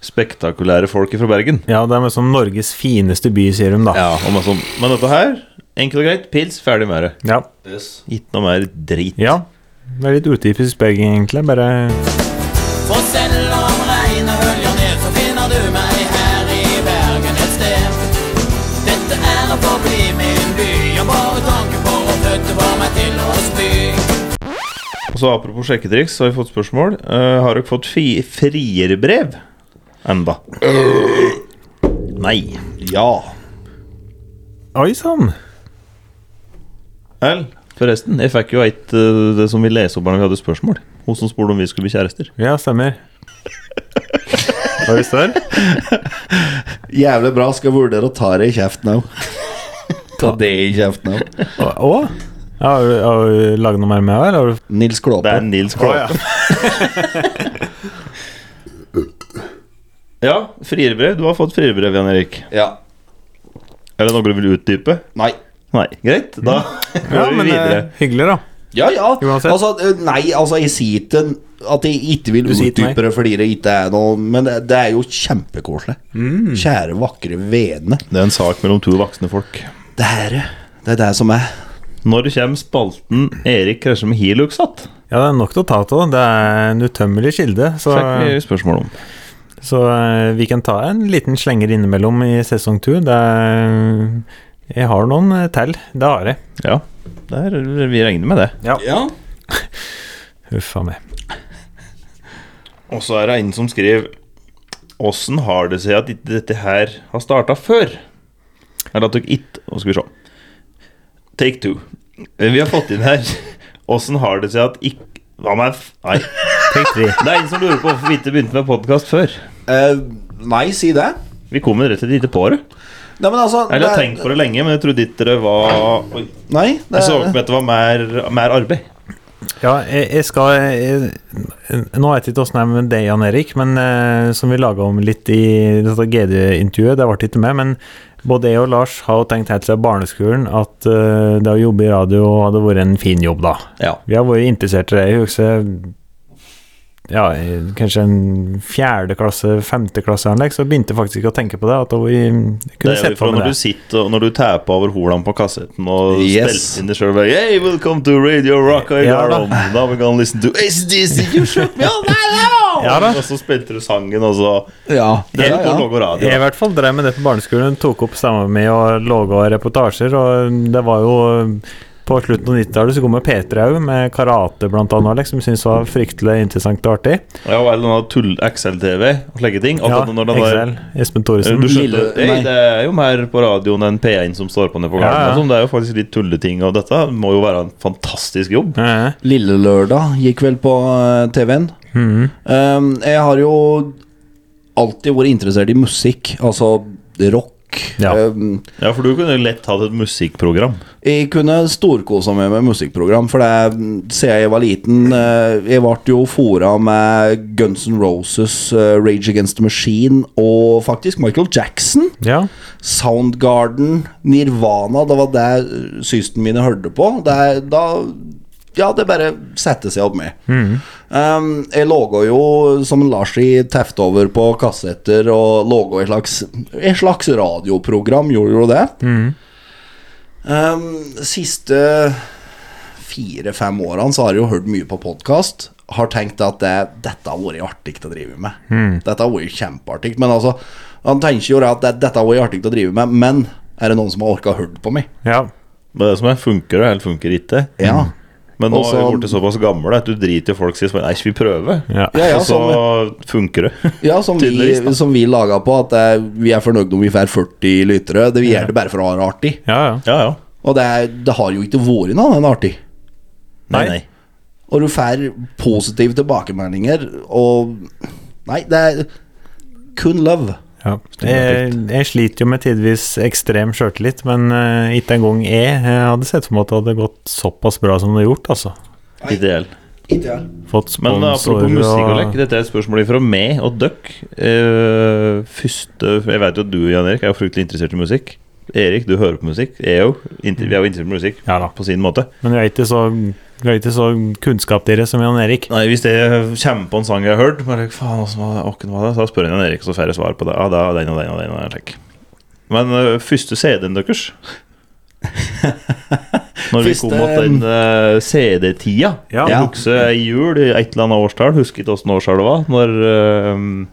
spektakulære folk fra Bergen. Ja, det er liksom Norges fineste by, sier de, da. Ja, og masse om- Men dette her, enkelt og greit, pils, ferdig med det. Ja. Ikke noe mer drit. ja. Det er litt utypisk Bergen, egentlig. Bare For selv om regnet høljer ned, så finner du meg her i Bergen. så apropos sjekketriks, så har vi fått spørsmål. Eh, har dere fått fi frierbrev enda? Nei. Ja. Oi sann! Vel, forresten, jeg fikk jo et eh, det som vi leser opp her når vi hadde spørsmål. Hun som spurte om vi skulle bli kjærester. Ja, stemmer. Var det større? Jævlig bra, skal vurdere å ta det i kjeften (laughs) òg. Ta det i kjeften òg. Å? Ja, har du, har du laget noe mer med her? Har du Nils (laughs) Det Klåpe. er Nils Klåpe. (laughs) ja, frierbrev. Du har fått frierbrev, Jan Erik. Ja. Er det noe du vil utdype? Nei. Nei. Greit, da Ja, går vi men videre. eh, hyggelig, da. Ja, ja. Uansett. Altså, eh, nei, altså, jeg sier ikke at jeg ikke vil Du sier ikke utdype det fordi det ikke er noe Men det, det er jo kjempekoselig. Mm. Kjære, vakre vene. Det er en sak mellom to voksne folk. Det er det. Det er det som er. Når kommer spalten 'Erik krasjer med Hilux' att? Ja, det er nok til å ta av. Det er en utømmelig kilde. Så, Fikk vi spørsmål om. så eh, vi kan ta en liten slenger innimellom i sesong to. Det er Jeg har noen eh, til. Det har jeg. Ja, der, vi regner med det. Ja. Huff a meg. Og så er det en som skriver Åssen har det seg at ikke dette her har starta før? Eller at dere ikke Nå skal vi se. Take two. Eh, Vi har fått inn her (laughs) Åssen har det seg at ikke Hva med f... Nei. Take three. Det er en som lurer på hvorfor vi ikke begynte med podkast før. Eh, nei, si det. Vi kom vel rett og slett ikke på det. Nei, men altså Eller jeg har det- tenkt på det lenge, men jeg trodde ikke det var Oi. Nei, det, Jeg så for meg at det var mer, mer arbeid. Ja, jeg, jeg skal jeg, Nå vet jeg ikke åssen det er med deg, Jan Erik, men eh, som vi laga om litt i dette GD-intervjuet, det ble ikke med, men både jeg og Lars har jo tenkt helt siden barneskolen at eh, det å jobbe i radio hadde vært en fin jobb, da. Ja. Vi har vært interessert i det. Jeg husker ja, i kanskje en fjerde klasse, femte klasse anlegg, så begynte jeg faktisk ikke å tenke på det. At vi kunne Det er sett jo fra for meg når det. du sitter og når du tapper over holan på kassetten og Yes. spiller inn det sjøl. Hey, welcome to Radio Rock Ja da. Island. Now we gonna listen to ACDC. You shoot me on (laughs) Ja da. Og så spilte du sangen, og så Ja, Det ja, er på ja. Logo Radio. Jeg i hvert fall drev med det på barneskolen, tok opp stemma mi og laga reportasjer, og det var jo På slutten av 90-tallet så kom P3 òg, med karate blant annet, Alex, som jeg syntes var fryktelig interessant og artig. Ja, og eller noe tull XL-TV og slike ting. Og Ja, at når det var, Excel, Espen du Thoresen. skjønte, Lille- hey, nei. det er jo mer på radioen enn P1 som står på nede på Ja, ja. gangen. og sånn. Det er jo faktisk litt tulleting, og dette må jo være en fantastisk jobb. Ja, ja. Lille Lørdag gikk vel på eh, TV-en. Mm. Um, jeg har jo alltid vært interessert i musikk, altså rock. Ja. Um, Ja, for du kunne jo lett hatt et musikkprogram. jeg kunne storkosa meg med musikkprogram, for det mm, siden jeg var liten eh, Jeg ble jo fora med Guns N' Roses, eh, Rage Against the Machine og faktisk Michael Jackson. ja. Soundgarden, Nirvana, det var det eh, systen mine hørte på. Det, er- da, ja, det bare setter seg opp med. Um, jeg laga jo, som Larsi tefte over på kassetter, og laga et slags, et slags radioprogram, gjorde jo det. Um, siste fire-fem årene så har jeg jo hørt mye på podkast. Har tenkt at det, dette har vært artig å drive med. Dette har vært kjempeartig. Men altså, han tenker jo da at det, dette har vært artig å drive med, men er det noen som har orka å høre på meg? ja. Det er det som er, funker det, eller funker ikke? Ja. Men nå Og er så- vi blitt såpass gamle at du driter i folk sier sånn, Nei, skal vi prøve? Ja. Ja, sånn, ja, og så funker det. Ja, som Tydeligvis, da. vi, som vi laga på, at eh, vi er fornøyd om vi får 40 lyttere. Det, vi gjør det bare for å ha det artig. ja, ja. Ja, ja. Og det, er, det har jo ikke vært noe annet enn artig. Nei, Nei. nei. Og du får positive tilbakemeldinger, og Nei, det er kun love. Ja. Jeg, Eh, jeg sliter jo med tidvis ekstrem sjøltillit, men eh, ikke engang jeg, jeg hadde sett for meg at det hadde gått såpass bra som det har gjort, altså. Ideell. Fått Men sponsorer eh, apropos musikk og lekk, og dette er et spørsmål fra meg og døkk. Eh, første Jeg vet jo at du, Jan Erik, er jo fryktelig interessert i musikk. Erik, du hører på musikk. Jeg er jo. Inter, vi er jo interessert i musikk Ja da. på sin måte. Men vi er ikke så, vi er ikke så kunnskap dere som Jan Erik. Nei, Hvis jeg kommer på en sang jeg har hørt, bare, faen, altså, hvordan var det, åkken var det? så spør jeg Jan Erik, så får jeg svar på det. Ja, det er den og den og den. og den, slik. Men eh, første CD-en (laughs) deres Når vi Første- kom mot den eh, CD-tida Ja. Jeg husker ei jul i et eller annet årstall, husker ikke åssen årstall det var, når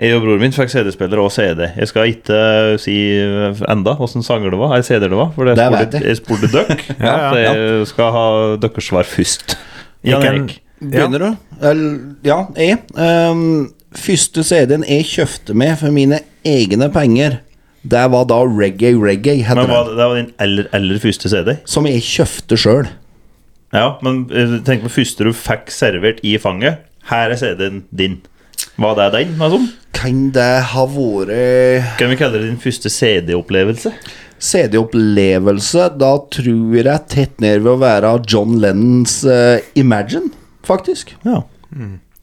eh, jeg og broren min fikk CD-spiller og CD. Jeg skal ikke øh, si enda åssen sanger det var, eller CD-er det var, for jeg Det spurte- vet jeg. jeg spurte døkk. Ja, ja, at Jeg skal ha deres svar først. Jan Ikke en- Erik. Begynner du? Eller, ja, jeg. Ehm, første CD-en jeg kjøpte med for mine egne penger, det var da Reggae Reggae, heter Men hva, den. det var din aller, aller første CD? Som jeg kjøpte sjøl. Ja, men eh, tenk på første du fikk servert i fanget. Her er CD-en din. Var det den? Liksom? Kan det ha vært Kan vi kalle det din første CD-opplevelse? CD-opplevelse? Da tror jeg det er tett ned ved å være John Lennons eh, Imagine, faktisk. Ja.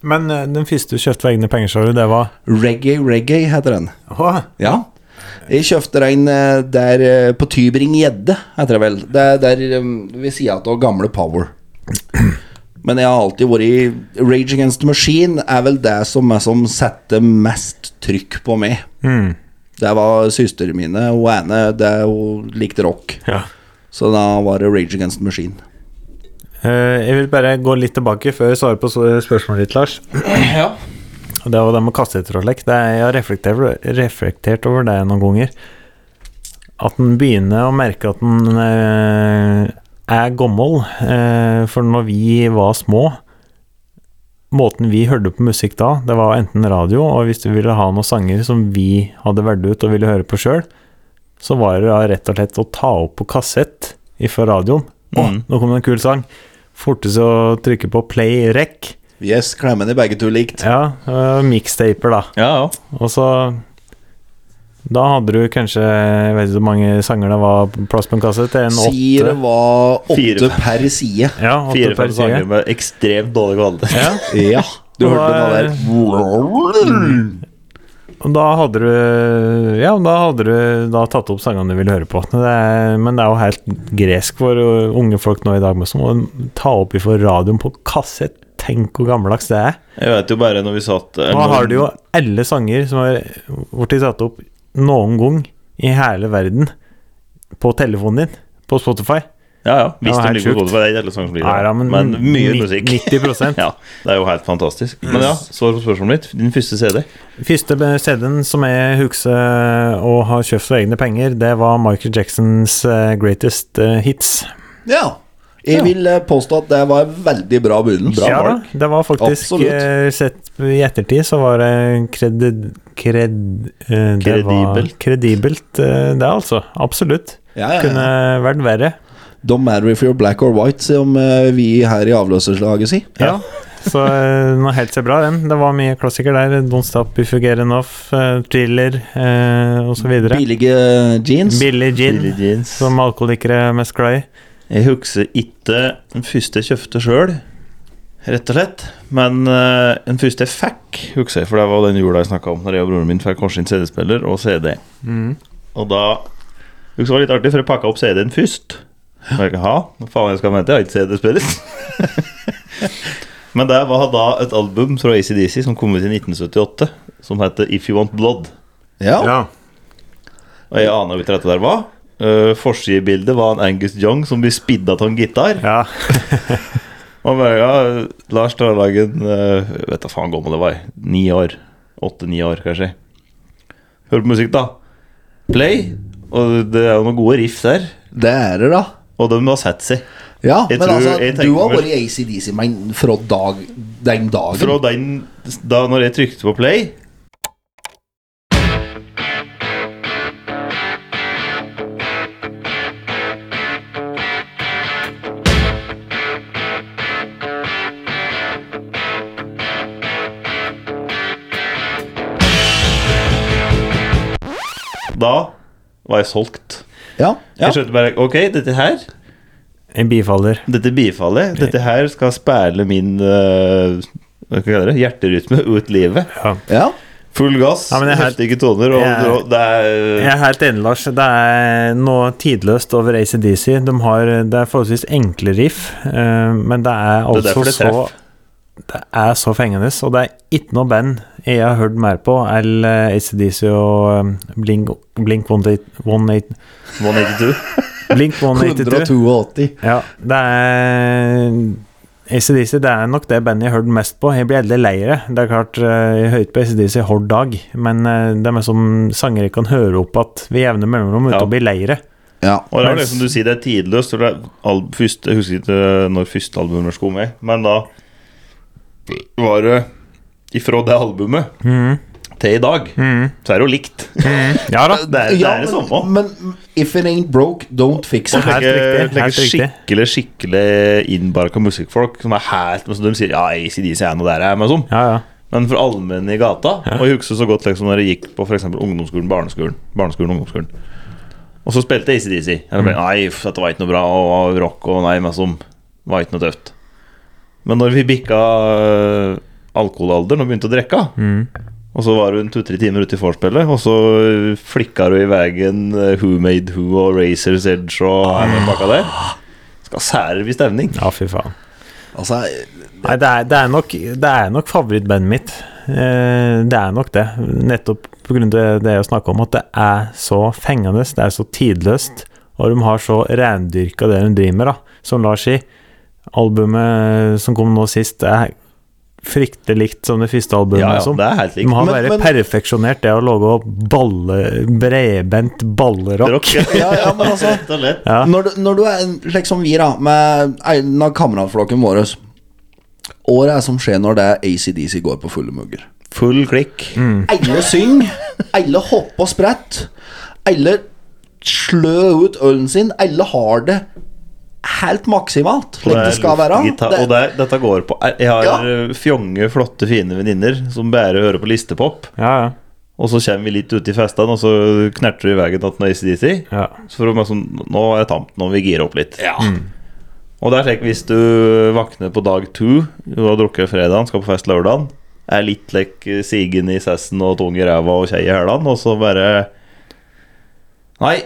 Men eh, den første du kjøpte for egne penger, sa du, det var Reggae Reggae heter den. Åh, Ja. Jeg kjøpte en eh, der eh, på Tybring Gjedde, heter det vel. Det er der eh, ved sida av gamle Power. (clears throat) Men jeg har alltid vært i Rage Against the Machine er vel det som, er som setter mest trykk på meg. Mm. Det var søstrene mine. Hun ene det, hun likte rock. ja. Så da var det Rage Against the Machine. Eh, Jeg vil bare gå litt tilbake før jeg svarer på så- spørsmålet ditt, Lars. Og (clears throat) det var det med kassetter og slik. Det er- Jeg har reflektert, over- reflektert over det noen ganger. At en begynner å merke at en eh, er gammel. Eh, for når vi var små Måten vi hørte på musikk da, det var enten radio, og hvis du ville ha noen sanger som vi hadde valgt ut og ville høre på sjøl, så var det da rett og slett å ta opp på kassett fra radioen. Å, nå kom det en kul sang. Forte seg å trykke på play rekk. Yes, klemmene begge to likt. Ja, øh, mixtaper, da. Ja, ja. Og så Da hadde du kanskje Jeg vet ikke hvor mange sanger det var på plass på en kassett. En Sier åtte. det var åtte Fire. per side. Ja, åtte per Fire-fem side. sanger med ekstremt dårlig kvalitet. Ja. Ja, du Det hørte den der. Og da hadde du Ja, da hadde du da tatt opp sangene du ville høre på. Det er, men det er jo helt gresk for øh, unge folk nå i dag, som må ta opp ifra radioen på kassett. Tenk hvor gammeldags det er. Jeg vet jo bare når vi satt eh, Nå når- har du jo alle sanger som har blitt satt opp noen gang i hele verden på telefonen din, på Spotify. Ja, ja. Hvis Ja, du helt liker sjukt. godt for deg, det er alle sanger som blir Ja, det. ja, men men, mye ni- musikk. 90%. (laughs) ja, det er jo helt fantastisk. Men ja, svar på spørsmålet ditt. Din første CD. Første CD-en som jeg husker å ha kjøpt for egne penger, det var Michael Jacksons eh, Greatest eh, Hits. Ja. Jeg vil eh, påstå at det var en veldig bra begynnelse. ja, da, det var faktisk Absolutt. eh, Sett i ettertid så var det kredid, kred, eh, det var Kredibelt. kredibelt, eh, det altså. Absolutt. Ja, ja, Kunne ja. vært verre. Don't matter if you're black or white, som eh, vi her i avløserslaget sier. Ja. Så eh, den var helt så bra, den. Det var mye klassiker der. Don't Stop If You Get Enough, eh, Thriller eh, osv. Billige eh, jeans. Billie Jean, Billie Jeans. som alkoholikere mest glad i. Jeg husker ikke den første jeg kjøpte sjøl, rett og slett. Men eh, den første jeg fikk, husker jeg, for det var den jula jeg snakka om, når jeg og broren min fikk hver sin CD-spiller og CD. Og da husker jeg det var litt artig, for jeg pakka opp CD-en først. Og jeg ha, hva faen jeg skal vente, jeg har ikke CD-spiller. (laughs) Men det var da et album fra ACDC som kom ut i 1978, som heter If You Want Blood. Ja. Og jeg aner jo ikke hva dette der var. Uh, Forsidebildet var en Angus Young som blir spidda av en gitar. Ja. Og bare, ja, Lars Tarlagen uh, Vet da faen gammel det var. Ni år. Åtte-ni år, kanskje. Hør på musikk, da. Play. Og det er jo noen gode riff der. Det er det, da. Og de har sett seg. Ja, Jeg men tror- altså, jeg du tenker har vel- vært i ACDC men fra dag, den dagen. Fra den da når jeg trykte på play Da var jeg solgt. Ja. ja. Jeg skjønte bare Ok, dette her En bifaller. dette bifaller. Dette her skal speile min eh, hva skal jeg kalle det, hjerterytme ut livet. ja. Full gass, Ja, men jeg har- heftige toner, og, Jeg- og det er eh, Jeg er helt enig, Lars. Det er noe tidløst over ACDC. De har, det er forholdsvis enkle riff, eh, men det er Det er altså derfor det så treffer. Det er så fengende, og det er ikke noe band jeg har hørt mer på enn eh, ACDC og eh, Blink, Blink 182. 182. (laughs) Blink 182. 182. Ja, det er ACDC det er nok det bandet jeg har hørt mest på. Jeg blir veldig lei det. Det er klart, eh, jeg hører ikke på ACDC hver dag, men eh, det er mer som sanger jeg kan høre opp at ved jevne mellomrom uten Ja. å bli lei det. Ja. Ja. Og det er liksom du sier, det er tidløst. og Det er al første, jeg husker ikke eh, når første albumet deres kom med, men da var det ifra det albumet til i dag, så er det jo likt. Mhm. Ja da. (laughs) Det er det, er det samme. men, men if it ain't broke, don't fix it. Og slike, riktig, helt slike riktig. skikkelig skikkelig innbarka musikkfolk som er helt men som De sier ja, ACDC er noe der, jeg er med og sånn. Ja, ja. Men for allmenne i gata Og jeg husker så godt liksom, når jeg gikk på for eksempel ungdomsskolen, barneskolen, barneskolen, ungdomsskolen. Og så spilte jeg ACDC. Jeg ble, nei, uff, dette var ikke noe bra, og, og rock og nei, men som var ikke noe tøft. Men når vi bikka øh, alkoholalderen og begynte å drikke, og så var hun to-tre timer ute i vorspielet, og så flikka du i veien øh, Who Made Who og Razor's Edge og hele den pakka der. Skal serve i stemning. ja, fy faen. Altså, Nei, det er, det er nok, det er nok favorittbandet mitt. Eh, det er nok det. Nettopp pga. det jeg snakker om, at det er så fengende, det er så tidløst, og de har så rendyrka det de driver med, da. Som Lars sier, albumet som kom nå sist, er fryktelig likt som det første albumet. Ja, ja, som. det er helt likt. De har Men- bare men- perfeksjonert det å lage balle, bredbent ballerock. (laughs) Rock. ja, ja, men altså Rett og slett. Når, du- når du er en- slik som vi, da, med en av kameratflokken vår Og det er som skjer når det er ACDC går på fulle mugger? Full klikk. Alle synger, alle hopper og spretter. Alle slør ut ølen sin. Alle har det helt maksimalt, slik det skal være. Gitar, og det, er- dette går på Jeg har eh, fjonge, flotte, fine venninner som bare hører på listepop. Ja, ja. Og så kommer vi litt ut i festene, og så knerter du i veien at den er ACDC. Ja. Så får du bare sånn Nå er det tamt, nå må vi gire opp litt. Og det er slik hvis du våkner på dag to, du har drukket fredagen, skal på fest lørdagen, er litt like sigen i sessen og tung i ræva og kjei i hælene, og så bare Nei,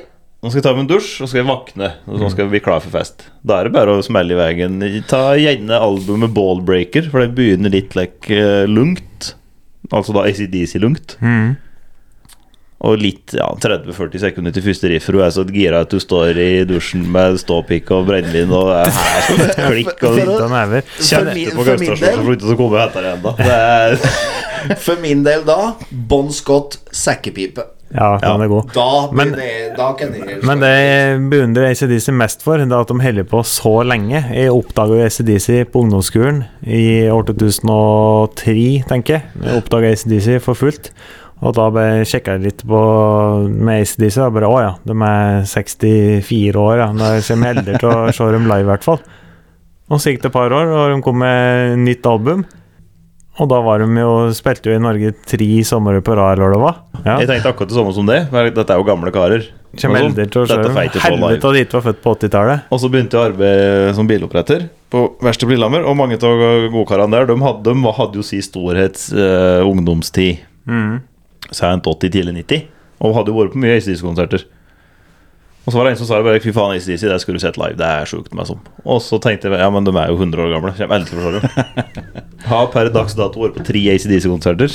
nå skal jeg ta meg en dusj, og så skal jeg våkne, og Mm. så skal vi bli klar for fest. Da er det bare å smelle i veien. Ta gjerne albumet Ballbreaker, for det begynner litt like eh, lungt. Altså da ACDC-lungt. Mm. Og litt, ja, 30-40 sekunder til første riff, for du er så gira at du står i dusjen med ståpikk og brennevin og er her som et (laughs) klikk Da og er den over. Kjenn For min- for min del- etter på Gaustasjonen, for ikke så kommer jeg etter deg ennå. Det er For min del da, Bon Scott sekkepipe. Ja, den er god. Da, Men- blir det, da kan jeg Men det jeg beundrer ACDC mest for, det er at de holder på så lenge. Jeg oppdaga jo ACDC på ungdomsskolen i år 2003, tenker jeg. Jeg oppdaga ACDC for fullt. Og da sjekka jeg litt på med ACDC, og bare å ja, de er 64 år, ja. Da kommer jeg heldig til å se dem live, i hvert fall. Og så gikk det et par år, og de kom med nytt album. Og da var de jo, spilte jo i Norge tre somre på rad, eller hva det var. Ja. Jeg tenkte akkurat det samme som det. men Dette er jo gamle karer. Kjem Og sånn. eldre til å Dette kjøre feit ikke å Helvete live. av de ikke var født på 80-tallet. Og så begynte jeg å arbeide som biloppretter på verste Lillehammer. Og mange av godkarene der, de hadde, de hadde jo si storhets eh, ungdomstid. Sent 80, tidlig 90. Og hadde jo vært på mye ACDC-konserter. Og så var det en som sa det bare fy faen, ACDC, det skulle du sett live. Det er sjukt meg som. Og så tenkte jeg ja, men de er jo 100 år gamle. Kjem eldre til å se dem. Har per dags dato vært på tre ACDC-konserter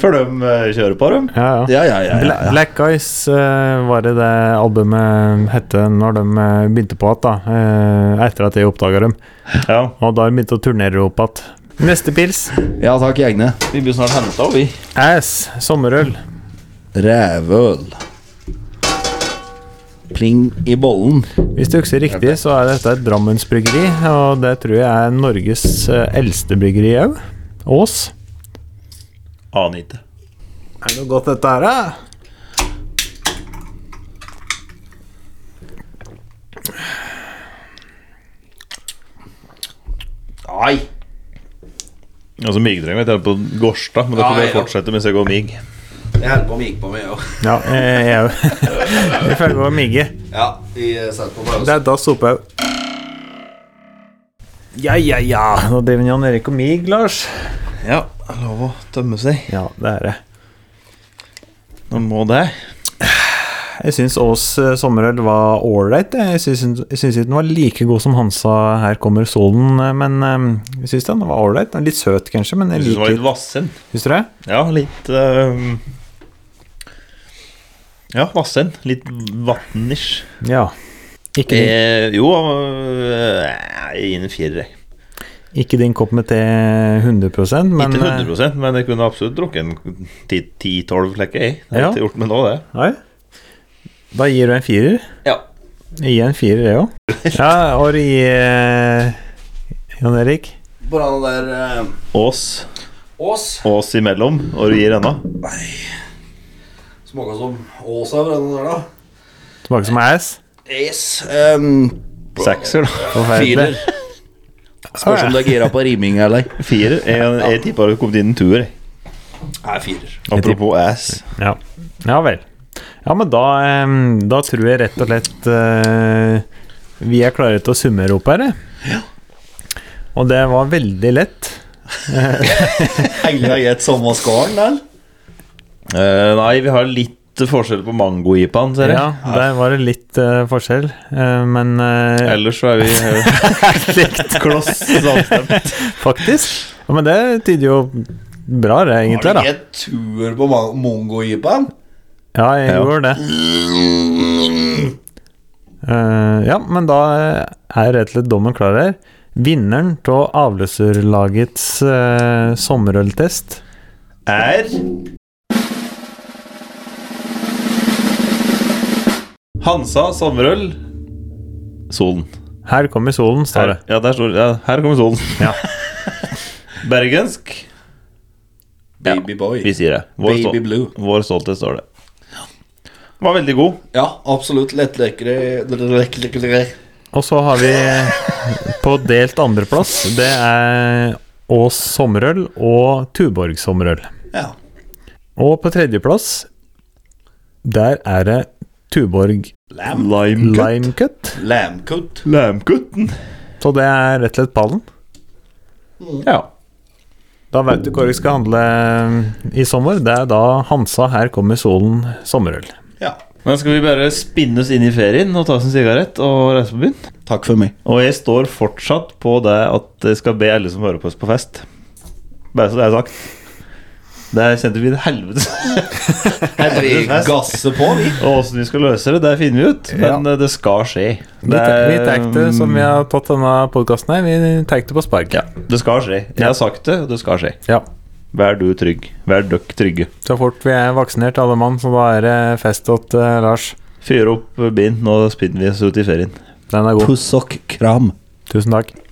før de eh, kjører på dem. Ja, ja. Ja, ja, ja. ja, Bla- ja. Black Eyes eh, var det det albumet hette når de eh, begynte på igjen, da. eh, etter at jeg oppdaga dem. Ja, Og da har de begynt å turnere opp igjen. Neste pils. ja takk, egne. Vi blir snart henta, vi. Ass. Sommerøl. Rævøl. Pling i bollen. Hvis du husker riktig, så er dette et Drammensbryggeri, og det tror jeg er Norges eh, eldste bryggeri òg. Ås. Aner ikke. Er det noe godt dette her, da? Nei. Altså, migdreng vet jeg er på Gårdstad, men da får Ja, vi ja. fortsette mens jeg går mig. Jeg holder på med gikk på meg òg. Ja, eh, jeg (laughs) òg. Jeg føler meg migge. Ja, vi setter på pause. Det er da Sophaug. Ja, ja, ja. Nå driver Jan Erik og mig, Lars. Ja, lov å tømme seg. Ja, det er det. Når må det. Jeg syns Ås eh, sommerøl var ålreit. jeg. Jeg syns jeg syns ikke den var like god som Hansa Her kommer solen, eh, men eh, jeg syns den var ålreit. Den er Litt søt, kanskje, men jeg Jeg synes det var liker litt vassen. Syns du det? Ja, litt ehm, Ja, vassen. Litt vatnish. Ja. Ikke din, Eh, jo, eh, jeg gir den en firer. jeg. ikke din kopp med te 100 men Ikke eh, 100 men jeg kunne absolutt drukket en ti- 10-12 flekker. jeg. Det har jeg Ja. ikke gjort meg nå, det. Nei. Da gir du en firer. Ja. Jeg gir en firer, jeg òg. (laughs) Ja, og du gir eh, Jan Erik? På den der eh, Ås, Ås Ås imellom, og du gir ennå. Smaker som Ås her, den der, da. Tilbake som ass? Yes. Um, Sekser, da. firer. Forferdelig. Spørs om du er gira på riming eller ei. Firer. Jeg, jeg tippa det kom inn en tuer. jeg. Nei, firer. Apropos ass. Ja. ja vel. Ja, men da, eh, da tror jeg rett og slett eh, vi er klare til å summere opp her, jeg. Og det var veldig lett. Alle har gitt samme skåren, eller? Eh, nei, vi har litt forskjell på mango-ipaen, ser jeg. Ja, der var det litt eh, forskjell, eh, men eh, Ellers så er vi eh, (laughs) Likt kloss samstemt. Faktisk. Ja, men det tyder jo bra, det, egentlig. Har du da gitt tur på ma- mongo-jeepen? Ja, jeg Ja. gjorde det. Eh, ja, men da eh, er rett og slett dommen klar her. Vinneren av avløserlagets eh, sommerøltest er Hansa sommerøl. Solen. Her kommer solen, står det. Her, ja, der står det. Ja, her kommer solen. Ja. (laughs) Bergensk. Babyboy. Vi sier det. Baby stol- blue. Vår stolthet står det. Var veldig god. Ja, absolutt. Lettlekre Og så har vi (laughs) på delt andreplass, det er Ås sommerøl og Tuborg sommerøl. Ja. Og på tredjeplass, der er det Tuborg Lam. Lime Cut. Lamkutt. Lamgutten. Så det er rett og slett pallen. Ja. Da veit du hvor du skal handle eh, i sommer. Det er da Hansa Her kommer solen sommerøl. Ja. Men skal vi bare spinne oss inn i ferien og ta oss en sigarett og reise på byen? Takk for meg. Og jeg står fortsatt på det at jeg skal be alle som hører på oss på fest. Bare så det er sagt. Det sendte vi til helvetes Vi helvetes fest. gasser på, vi. (laughs) Og åssen vi skal løse det, det finner vi ut. Men eh, det skal skje. Vi Det, mm, tar- vi tar det som vi ja. har tatt denne podkasten her. Vi tar det på spark. Ja. det skal skje. Jeg har sagt det, og det skal skje. Vær du trygg. Vær døkk trygge. Så fort vi er vaksinert, alle mann, så da er det fest åt eh, Lars. Fyr opp bind, nå spinner vi oss ut i ferien. Den er god. Pussok kram. Tusen takk.